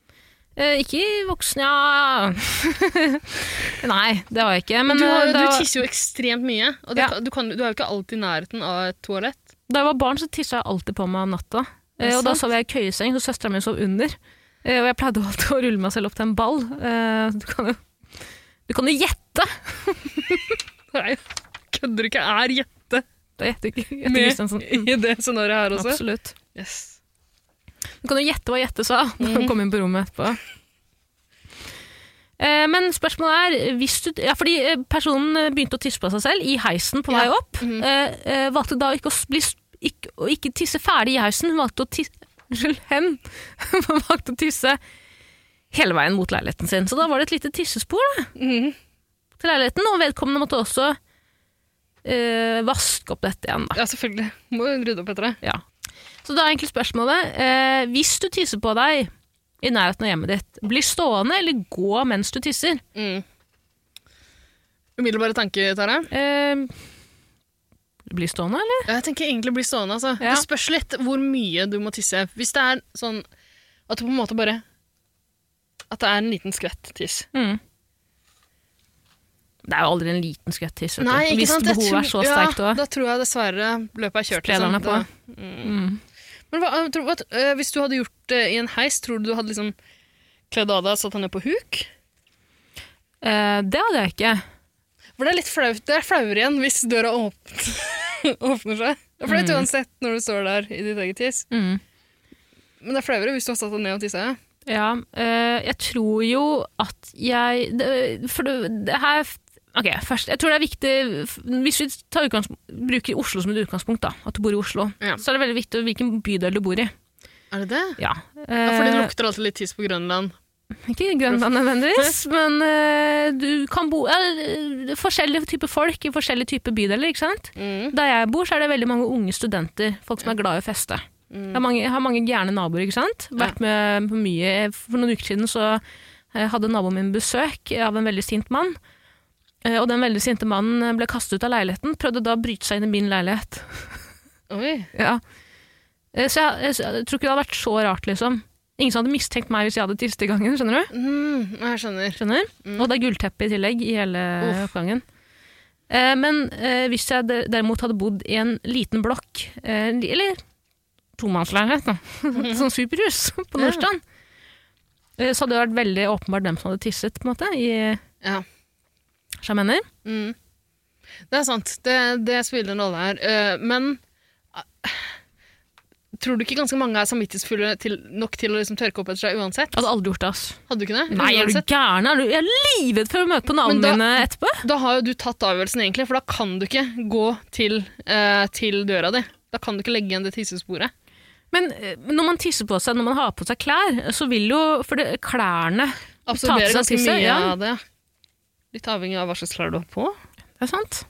A: Eh, ikke i voksen, ja (laughs) Nei, det har jeg ikke. Men
C: du, har,
A: eh,
C: du
A: da,
C: tisser jo ekstremt mye, og det,
A: Ja.
C: kan- du, kan, du er jo ikke alltid i nærheten av et toalett.
A: da jeg var barn, så tissa jeg alltid på meg om natta.
C: Er det
A: Eh, og da
C: sant?
A: sov jeg i køyeseng, så søstera mi sov under. Eh, og jeg pleide alltid å rulle meg selv opp til en ball. Eh, du kan jo Du kan jo gjette!
C: Nei, kødder du ikke? Er jette
A: Det er gjette ikke. Jette Christensen.
C: med (laughs) i det scenarioet her også?
A: Absolutt.
C: Yes.
A: Du kan jo gjette hva Jette sa når hun kom inn på rommet etterpå. Eh, Men spørsmålet er hvis du, ja, Fordi eh, personen eh, begynte å tisse på seg selv i heisen på vei
C: Ja. Mm.
A: opp. eh, eh, Valgte da ikke å, s- bli, s- ikke, å ikke tisse ferdig i heisen. Hun valgte å tisse Unnskyld, hen (laughs) Hun valgte å tisse hele veien mot leiligheten sin. Så da var det et lite tissespor da,
C: Mhm.
A: til leiligheten, og vedkommende måtte også eh, vaske opp dette igjen. da.
C: Ja, selvfølgelig. Må jo rydde opp etter det.
A: Ja. Så da er egentlig spørsmålet eh, Hvis du tisser på deg i nærheten av hjemmet ditt, bli stående eller gå mens du tisser?
C: Mm. Umiddelbare tanke, Tara?
A: Eh, bli stående, eller?
C: Ja, Jeg tenker egentlig bli stående. Altså.
A: Ja.
C: Det spørs litt hvor mye du må tisse. Hvis det er sånn at du på en måte Mm. bare At det er en liten skvett tiss.
A: Det er jo aldri en liten skvett tiss. vet du.
C: Nei, ikke
A: Hvis
C: sant? Jeg
A: behovet er
C: tror-
A: så sterkt
C: ja,
A: òg.
C: Da tror jeg dessverre løpet er kjørt.
A: Sprer den
C: liksom.
A: deg på.
C: Da- Mm. Men hva, jeg tror, at, eh, hvis du hadde gjort det i en heis, tror du du hadde liksom kledd av deg og satt deg ned på huk?
A: Eh, det hadde jeg ikke.
C: For det er litt flaut. Det er flauere igjen hvis døra åpner, (laughs) åpner seg. Det er flaut
A: Mm.
C: uansett når du står der i ditt eget tiss.
A: Mm.
C: Men det er flauere hvis du har satt deg ned og tissa.
A: Ja, eh, jeg tror jo at jeg det, For det, det her Ok, først. Jeg tror det er viktig f- Hvis vi tar utgangs- bruker Oslo som et utgangspunkt, da, at du bor i Oslo,
C: Ja.
A: så er det veldig viktig hvilken bydel du bor i.
C: Er det det?
A: Ja,
C: Ja, fordi det
A: Eh,
C: lukter alltid litt tiss på Grønland.
A: Ikke Grønland
C: (laughs)
A: nødvendigvis, men eh, du kan bo ja, eh, Forskjellige typer folk i forskjellige typer bydeler, ikke sant?
C: Mm.
A: Der jeg bor, så er det veldig mange unge studenter, folk som er glad i å feste. Jeg har mange, jeg har mange gærne naboer, ikke sant? Vært med på mye. For noen uker siden så eh, hadde naboen min besøk av en veldig sint mann. Eh, Og den veldig sinte mannen ble kastet ut av leiligheten, prøvde da å bryte seg inn i min leilighet.
C: Oi.
A: Ja. Eh, Så jeg, jeg, jeg tror ikke det hadde vært så rart, liksom. Ingen som hadde mistenkt meg hvis jeg hadde tisset i gangen, skjønner du?
C: Mm, jeg skjønner.
A: Skjønner? Og det er gullteppe i tillegg i hele
C: Mm. Uff.
A: oppgangen. Eh, men eh, hvis jeg de- derimot hadde bodd i en liten blokk, eh, li- eller tomannsleilighet, da, (laughs) sånn superhus på
C: Mhm. Ja.
A: Nordstrand, eh, så hadde det vært veldig åpenbart hvem som hadde tisset, på en måte, i
C: Ja.
A: sjamener.
C: Mm. Det er sant. Det, det spiller en rolle her. Eh, men eh, tror du ikke ganske mange er samvittighetsfulle til, nok til å liksom tørke opp etter seg uansett?
A: Hadde aldri gjort det, ass.
C: Hadde Altså, du ikke det?
A: Nei, er du
C: Mm, uansett?
A: gæren? Er du, jeg er livredd for å møte på naboene
C: Men da-
A: mine etterpå.
C: Da har jo du tatt avgjørelsen, egentlig, for da kan du ikke gå til, eh, til døra di. Da kan du ikke legge igjen det tissesporet.
A: Men eh, når man tisser på seg, når man har på seg klær, så vil jo For det, klærne
C: Absorberer
A: seg
C: ganske
A: tisse,
C: mye
A: ja.
C: av det. Litt avhengig av hva slags klær du har på.
A: Det er sant.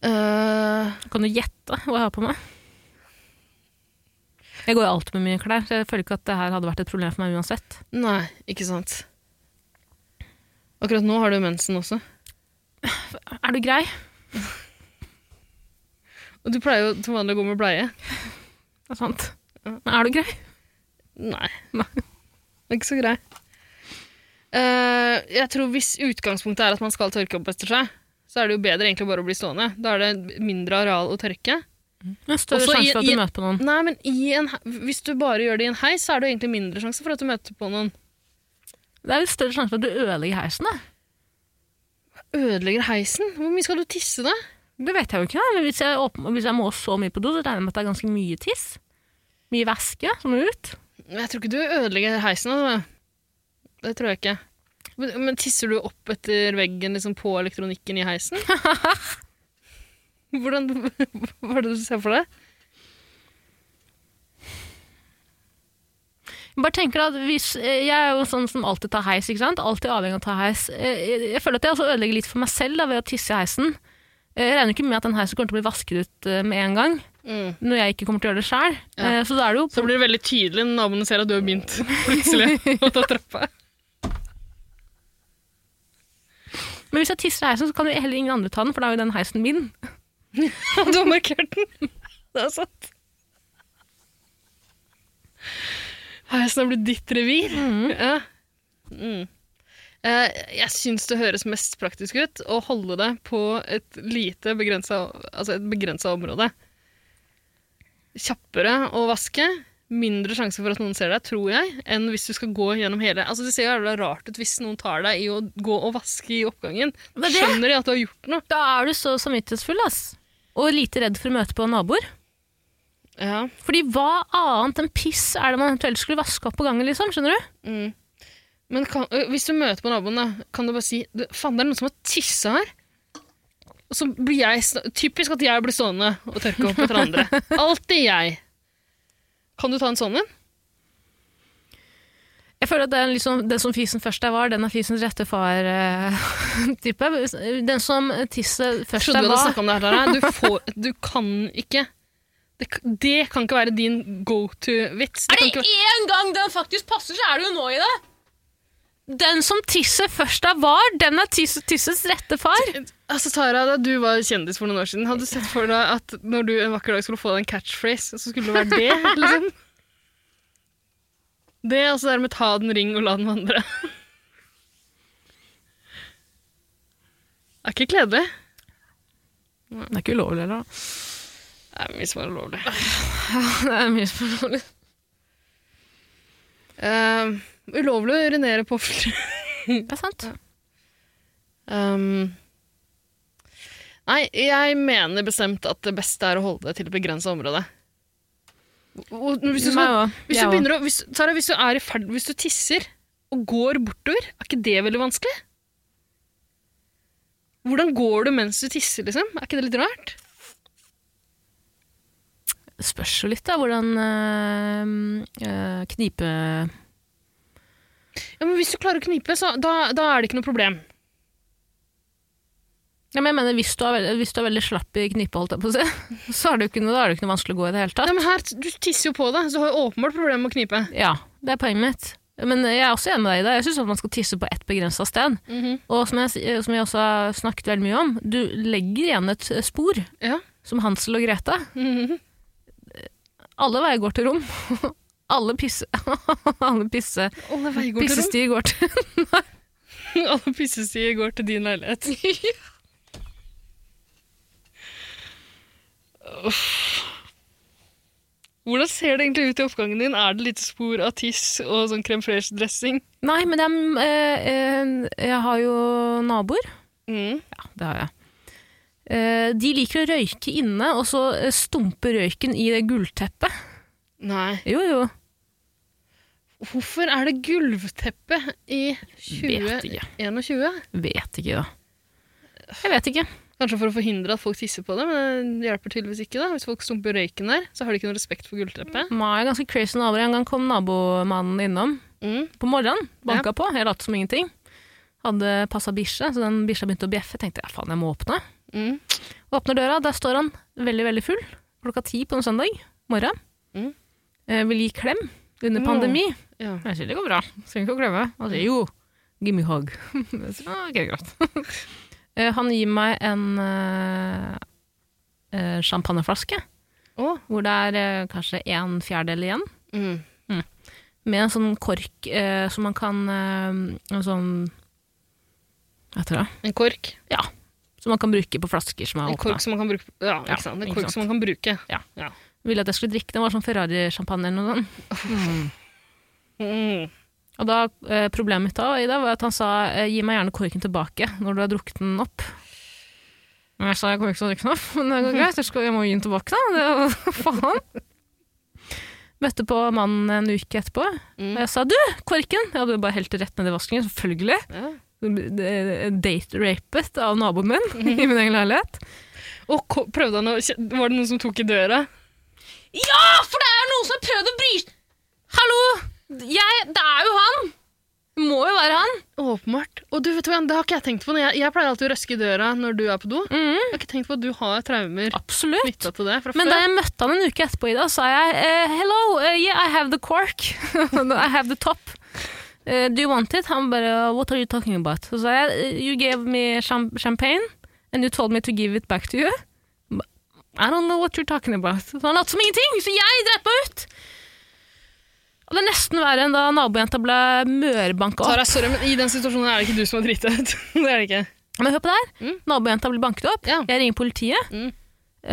C: Eh,
A: Kan du gjette hva jeg har på meg? Jeg går jo alltid med mye klær, så jeg føler ikke at det her hadde vært et problem for meg uansett.
C: nei, ikke sant. Akkurat nå har du mensen også.
A: Er du grei?
C: Og du pleier jo til vanlig å gå med bleie.
A: Det er sant. Men er du grei?
C: Nei. (laughs)
A: Nei.
C: Det er ikke så grei. Eh, jeg tror hvis utgangspunktet er at man skal tørke opp etter seg, så er det jo bedre egentlig bare å bli stående. Da er det mindre areal å tørke.
A: Det er større
C: Også i-
A: sjanse for at
C: i-
A: du møter på noen.
C: Nei, men i en, he- hvis du bare gjør det i en heis, så er det jo egentlig mindre sjanse for at du møter på noen.
A: Det er litt større sjanse for at du ødelegger heisen, da.
C: Ødelegger heisen? Hvor mye skal du tisse, da?
A: Det vet jeg jo ikke, da. men hvis jeg, åpen, hvis jeg må så mye på do, så regner jeg med at det er ganske mye tiss. Mye væske som må ut.
C: Jeg tror ikke du ødelegger heisen. Altså. Det tror jeg ikke. Men, men tisser du opp etter veggen liksom, på elektronikken i heisen? (laughs) Hvordan, hva er det du ser for deg?
A: Jeg Bare tenker at hvis, eh, Jeg er jo sånn som alltid tar heis. ikke sant? Alltid avhengig av å ta heis. Eh, Jeg, jeg føler at jeg også ødelegger litt for meg selv da, ved å tisse i heisen. Eh, Jeg regner jo ikke med at den heisen kommer til å bli vasket ut eh, med en gang.
C: Mm.
A: når jeg ikke kommer til å gjøre det sjøl.
C: Ja.
A: Så da er det jo
C: Så blir det veldig tydelig når naboene ser at du har begynt plutselig å ta trappa.
A: Men hvis jeg tisser i heisen, så kan jo heller ingen andre ta den, for da er jo den heisen min.
C: Og (laughs) du har markert den. Det er sant. Heisen har blitt ditt revir. Ja. Mm. Eh, Jeg syns det høres mest praktisk ut å holde det på et lite, begrensa altså et begrensa område. Kjappere å vaske. Mindre sjanse for at noen ser deg, tror jeg, enn hvis du skal gå gjennom hele Altså, Det ser jo jævla rart ut hvis noen tar deg i å gå og vaske i oppgangen.
A: Det er det.
C: Skjønner de at du har gjort noe?
A: Da er du så samvittighetsfull, ass. Og lite redd for å møte på naboer.
C: Ja.
A: Fordi hva annet enn piss er det man eventuelt skulle vaske opp på gangen, liksom? Skjønner du?
C: Mm. Men kan, ø, hvis du møter på naboen, da, kan du bare si «Du, 'Faen, det er noen som har tissa her'. Og så blir jeg sta- Typisk at jeg blir stående og tørke opp etter andre. Alltid jeg. Kan du ta en sånn en?
A: Jeg føler at det er liksom, den som fisen først jeg var, den er fisens rette (laughs) far-type. den som tisset først
C: Trodde
A: jeg
C: vi hadde
A: var.
C: snakket om det her. Tara. Du, får, du kan ikke det, k- det kan ikke være din go to-vits.
A: Er
C: kan
A: det
C: ikke være-
A: én gang den faktisk passer, så er det jo nå i det! Den som tisset først jeg var, den er tisse, tissets rette far.
C: Altså, Tara, da du var kjendis for noen år siden, hadde du sett for deg at når du en vakker dag skulle få deg en catchphrase, så skulle det være det? liksom? Det, altså det der med ta den ring og la den vandre. Er ikke kledelig.
A: (laughs) Det er ikke ulovlig heller.
C: Det er mye som er ulovlig.
A: det er mye som er ulovlig.
C: Eh, ulovlig å urinere på offentlig
A: Det er sant.
C: Ehm, Nei, jeg mener bestemt at det beste er å holde det til et begrenset område. Og Hvis du, skal, hvis du begynner å hvis, Sara, hvis du er i ferd Hvis du tisser og går bortover, er ikke det veldig vanskelig? Hvordan går du mens du tisser, liksom? Er ikke det litt rart?
A: spørs jo litt da, hvordan øh, øh, knipe
C: Ja, men Hvis du klarer å knipe, så da, da er det ikke noe problem.
A: ja, men jeg mener, hvis du, er veldig, hvis du er veldig slapp i knipe, holdt jeg på å si, (laughs) så er det jo ikke noe, da er det jo ikke noe vanskelig å gå i det hele tatt.
C: Nei, men her, Du tisser jo på deg, så du har jo åpenbart problemer med å knipe.
A: Ja, det er poenget mitt. Men jeg er også enig med deg i det. Jeg syns man skal tisse på ett begrensa sted. Og som jeg, s- som jeg også har snakket veldig mye om, du legger igjen et eh, spor,
C: Ja.
A: som Hansel og Grete.
C: Mhm.
A: Alle veier går til rom. (laughs) Alle pisse... (laughs) Alle pisse...
C: Alle veier går til rom.
A: Pissestier går til
C: (laughs) Alle pissestier går til din (laughs) leilighet. Uff. Hvordan ser det egentlig ut i oppgangen din? Er det lite spor av tiss og sånn crème fraîche-dressing?
A: Nei, men jeg, eh, eh, jeg har jo naboer.
C: Mm.
A: det har jeg. Eh, de liker å røyke inne, og så eh, stumpe røyken i det gullteppet.
C: Nei.
A: Jo, jo.
C: Hvorfor er det gulvteppe i
A: Vet ikke.
C: 2021?
A: Vet ikke, da. Jeg vet ikke.
C: Kanskje for å forhindre at folk tisser på det, men det hjelper tydeligvis ikke. da. Hvis folk stumper røyken der, så har de ikke noe respekt for gulvteppet.
A: Nei, ganske crazy naboer. En gang kom nabomannen innom
C: Mm.
A: på morgenen. Banka på. Jeg lot som ingenting. Hadde passa bikkje, så den bikkja begynte å bjeffe. Tenkte jeg faen, jeg må åpne.
C: Mm.
A: Åpner døra, der står han veldig, veldig full. Klokka ti på en søndag morgen.
C: Mm.
A: Eh, vil gi klem under
C: Nå.
A: pandemi.
C: Ja.
A: Jeg sier det går bra. Skal ikke å klemme. Han sier jo, give me hug. (laughs) Jeg sier, «Ah, ok, greit. (laughs) Eh, Han gir meg en eh, eh, champagneflaske,
C: Å.
A: hvor det er eh, kanskje en fjerdedel igjen,
C: Mm.
A: med en sånn kork eh, som man kan eh, En sånn Hva heter det?
C: En kork.
A: Ja. Som man kan bruke på flasker som er
C: En kork
A: åpna.
C: som man kan bruke. Ja,
A: Ja,
C: ikke sant? En
A: ikke
C: kork
A: sant.
C: som man kan bruke.
A: Ja. Ville at jeg skulle drikke den, var sånn Ferrari-champagne eller noe sånt.
C: Mm.
A: Og da, eh, Problemet mitt da, Ida, var at han sa eh, gi meg gjerne korken tilbake når du har drukket den opp. Men jeg sa jeg kommer ikke til å drikke den opp, (laughs) men det går greit, jeg, skal, jeg må gi den tilbake da. Det, er jo- (laughs) faen. Møtte på mannen en uke etterpå, og jeg sa du, korken! Jeg hadde jo bare helt det rett ned i vasken, selvfølgelig. eh,
C: Ja.
A: Date-rapet av naboen min (laughs) i min egen leilighet.
C: Og ko- prøvde han å kje- Var det noen som tok i døra?
A: Ja, for det er noen som har prøvd å bryte Hallo! Jeg, det er jo han! Det må jo være han.
C: Åpenbart. Og du vet hva, det har ikke jeg tenkt på. Jeg, jeg pleier alltid å røske i døra når du er på do. Jeg har ikke tenkt på at du har traumer
A: Mhm, Absolutt.
C: knytta til det fra
A: Men da
C: før.
A: jeg møtte han en uke etterpå, Ida, sa jeg eh, Hello, eh, yeah, I have the cork. (laughs) I have the top. Eh, do you want it? Han bare What are you talking about? Så sa jeg eh, You gave me cham- champagne, and you told me to give it back to you. But I don't know what you're talking about. Så han lot som ingenting, så jeg dreit meg ut. Og det er nesten verre enn da nabojenta ble mørbanka opp.
C: Tara, sorry, men i den situasjonen er det ikke du som har driti deg ut. (laughs) det er det ikke.
A: Men hør på det her.
C: Mm.
A: Nabojenta blir banket opp.
C: Ja.
A: Jeg ringer politiet.
C: Mm.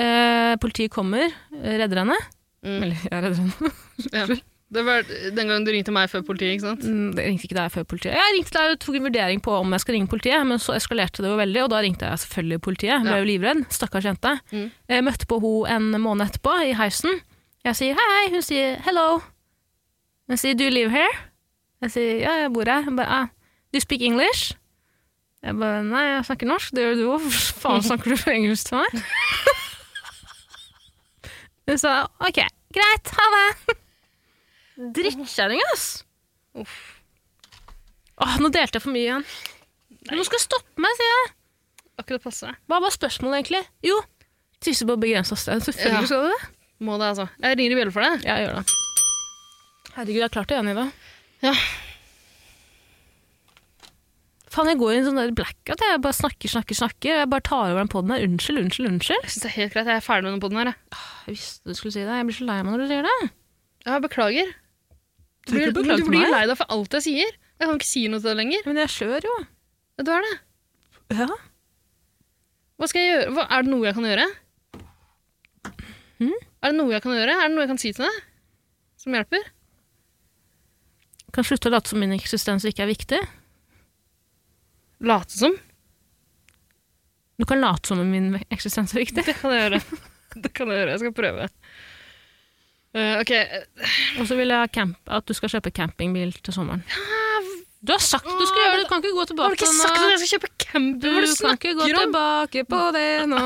A: Eh, politiet kommer, redder
C: (laughs)
A: henne.
C: Mm.
A: Eller jeg redder henne.
C: Ja. Det var den gangen du ringte meg før politiet, ikke sant?
A: Mm, Jeg ringte ikke deg før politiet. Jeg ringte deg og tok en vurdering på om jeg skal ringe politiet, men så eskalerte det jo veldig, og da ringte jeg selvfølgelig politiet. Jeg ble jo livredd. Stakkars jente.
C: Mm.
A: Jeg møtte på henne en måned etterpå, i heisen. Jeg sier hei, hei. Hun sier hello. Hun sier do you live here? Jeg sier ja, jeg bor her. Hun bare ah, do you speak English? Jeg bare nei, jeg snakker norsk. Det gjør du òg. Hvorfor faen snakker du engelsk til meg? Hun sa ok, greit, ha det. Drittkjerring, ass.
C: Uff.
A: Åh, nå delte jeg for mye igjen. Men Nå skal jeg stoppe meg, sier jeg.
C: Akkurat passe.
A: Hva var spørsmålet egentlig? Jo, tisse på begrensa sted. Selvfølgelig
C: Ja.
A: skal du det.
C: Må det, altså. Jeg ringer i bjelle for deg.
A: Ja, gjør det. Herregud, jeg har klart det igjen i dag.
C: Ja.
A: Faen, jeg går i en sånn der blackout. Jeg bare snakker, snakker, snakker. Jeg bare tar over den podden her. Unnskyld, unnskyld, unnskyld.
C: Jeg synes det er helt greit. Jeg er ferdig med den podden her, jeg.
A: Jeg visste du skulle si det. Jeg blir så lei meg når du sier det.
C: Ja, beklager. Du
A: Tror
C: blir,
A: ikke du
C: men
A: beklager
C: du
A: til
C: blir
A: meg.
C: lei deg for alt jeg sier. Jeg kan ikke si noe til deg lenger.
A: Men jeg skjør jo.
C: Du er det.
A: Ja.
C: Hva skal jeg gjøre? Hva, er det noe jeg kan gjøre? Hm? Er det noe jeg kan gjøre? Er det noe jeg kan si til deg? Som hjelper?
A: Kan slutte å late som min eksistens ikke er viktig.
C: Late som?
A: Du kan late som om min eksistens er viktig.
C: Det kan jeg gjøre.
A: (laughs)
C: Det kan jeg gjøre. Jeg skal prøve. Eh, ok,
A: Og så vil jeg ha camp, at du skal kjøpe campingbil til sommeren. Du har sagt du skal gjøre det, du kan ikke gå tilbake
C: Har du ikke
A: nå.
C: sagt at jeg skal kjøpe camper? Hva er det
A: Du kan ikke gå
C: snakker om?
A: tilbake på det nå.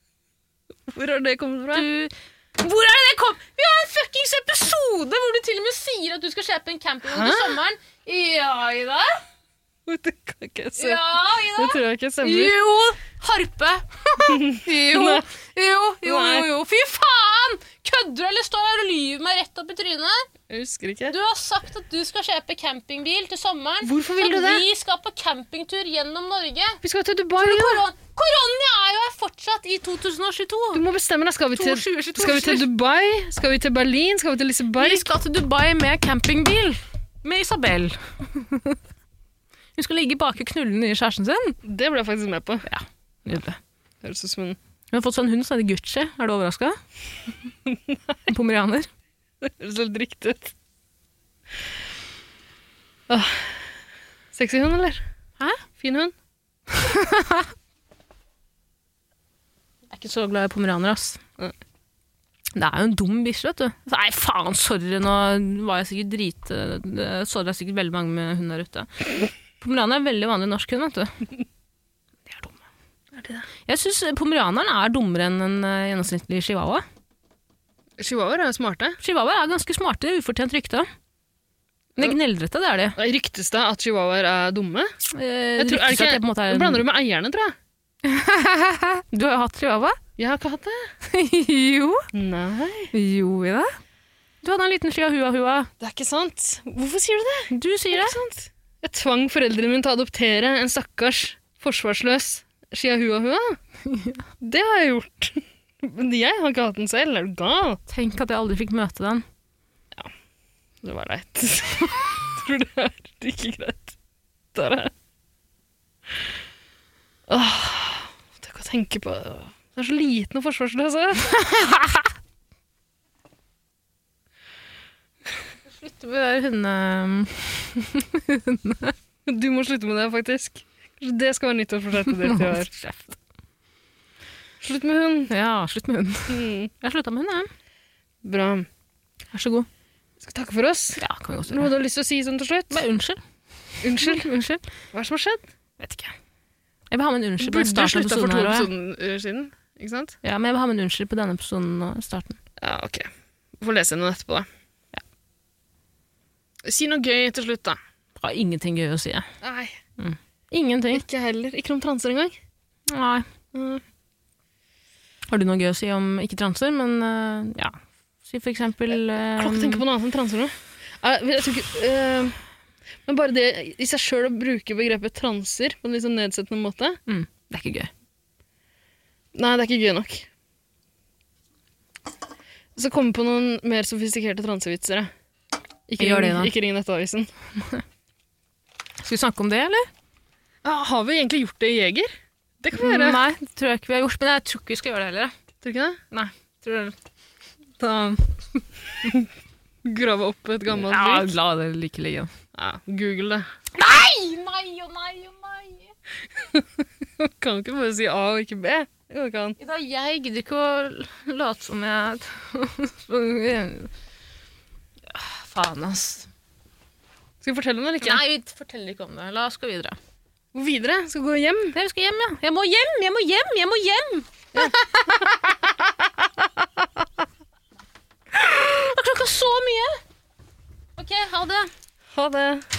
C: (laughs) Hvor har det kommet fra?
A: Du... Hvor er det det kom? Vi har en fuckings episode hvor du til og med sier at du skal kjøpe en campingbil til sommeren. Ja, Ida.
C: (laughs) Det kan ikke jeg se.
A: Ja, Ida.
C: Det tror jeg ikke stemmer.
A: Jo! Harpe. jo,
C: (laughs) Nei.
A: jo, jo, jo,
C: Nei.
A: jo. Fy faen! Kødder du, eller står du her og lyver meg rett opp i trynet?
C: Jeg husker ikke.
A: Du har sagt at du skal kjøpe campingbil til sommeren.
C: Hvorfor vil du
A: så
C: det?
A: vi skal på campingtur gjennom Norge.
C: Vi skal til Dubai, da!
A: Koron Korona er jo her fortsatt i 2022.
C: Du må bestemme deg. Skal vi til,
A: 22, 22.
C: skal vi til Dubai? Skal vi til Berlin? Skal vi til Liseberg?
A: Vi skal til Dubai med campingbil. Med Isabel. Hun skal ligge bak og knulle den nye kjæresten sin.
C: Det ble jeg faktisk med på.
A: Nydelig.
C: Høres ut som en, (laughs)
A: Hun har fått sånn hund som heter Gucci. Er du overraska? Pomerianer.
C: høres helt riktig ut. Åh. Sexy hund, eller?
A: Hæ?
C: Fin hund?
A: Jeg er ikke så glad i pomeraner, ass.
C: Nei.
A: Det er jo en dum bikkje, vet du. Nei, faen, sorry, nå var jeg sikkert drit... eh, Sorry, det er sikkert veldig mange med hund der ute. Pomeraner er en veldig vanlig norsk hund, vet du. De er dumme. Jeg syns pomeraneren er dummere enn en eh, gjennomsnittlig chihuahua.
C: Chihuahuaer er jo smarte.
A: Chihuahuaer er ganske smarte, ufortjent rykte. Men gneldrete, det er de.
C: Ryktes det at chihuahuaer er dumme?
A: Eh,
C: Jeg tror, er det
A: ryktes at
C: ikke,
A: det på en måte er
C: Nå blander du med eierne, tror jeg.
A: (laughs) Du har jo hatt chihuahua?
C: Jeg har ikke hatt det.
A: jo.
C: Nei.
A: Jo, Ida. Du hadde en liten chihuahua.
C: Det er ikke sant. Hvorfor sier du det?
A: Du sier det.
C: Ikke sant? Jeg tvang foreldrene mine til å adoptere en stakkars, forsvarsløs chihuahua.
A: (laughs)
C: Det har jeg gjort. (laughs) Men jeg har ikke hatt den selv. Er du gal?
A: Tenk at jeg aldri fikk møte den.
C: Det var leit. (laughs) Jeg tror det er like greit. Der er jeg. Åh, tenk å tenke på det. Det er så liten og forsvarsløs. jeg.
A: Slutt med hunde...
C: Du må slutte med det, faktisk. Kanskje det skal være nyttårsforsettet ditt i år.
A: (laughs) Kjeft.
C: Slutt med hund.
A: Ja, slutt med hund.
C: Mm,
A: Jeg har slutta med hund, jeg.
C: bra.
A: Vær så god.
C: Skal vi takke for oss?
A: Ja, kan vi godt
C: Noe
A: gjøre.
C: du har lyst til å si sånn til slutt?
A: Bare unnskyld.
C: Unnskyld.
A: Unnskyld.
C: Hva er det som har skjedd?
A: Vet ikke. Jeg vil ha med en unnskyld på
C: Burde
A: starten av
C: slutta for
A: episoden.
C: to
A: her også,
C: episoder siden. Ikke sant?
A: Ja, Ja, men jeg vil ha med en unnskyld på denne episoden og starten.
C: Ja, ok. Vi får lese den etterpå, da. Si noe gøy til slutt, da.
A: Jeg Har ingenting gøy å si. jeg.
C: Nei,
A: Ingenting.
C: ikke heller. Ikke noe om transer engang.
A: Nei.
C: Eh,
A: Har du noe gøy å si om ikke transer, men eh, ja. Si for eksempel eh,
C: Klokka tenker på noe annet enn transer nå. Eh, Jeg tror ikke... eh, men bare det i seg sjøl å bruke begrepet transer på en litt sånn nedsettende måte
A: mm, Det er ikke gøy.
C: Nei, det er ikke gøy nok. Så kom på noen mer sofistikerte transevitser. jeg. Ikke,
A: Gjør
C: ring-
A: det, da.
C: ikke ring Nettavisen.
A: Skal vi snakke om det, eller?
C: Ja, har vi egentlig gjort det i Jeger? Det kan vi gjøre.
A: Mm. Nei, det tror jeg ikke vi har gjort. Men jeg tror ikke vi skal gjøre det heller. jeg.
C: Tror du ikke det?
A: Nei. Tror du da,
C: (laughs) Grave opp et gammelt
A: ja,
C: lik.
A: la det like ligge.
C: Ja, Google det.
A: Nei og nei og nei.
C: (laughs) Kan ikke bare si A og ikke B. Jo, det kan.
A: Ida, jeg gidder ikke å late som jeg Ah, (laughs) Faen, ass.
C: Skal vi fortelle om det eller ikke?
A: Nei, vi forteller ikke om det. La oss gå videre.
C: Gå videre. Skal vi gå hjem?
A: Nei, vi skal hjem, ja. Jeg må hjem, jeg må hjem, jeg må hjem! (laughs) Jeg har klokka så mye! OK, ha det.
C: Ha det.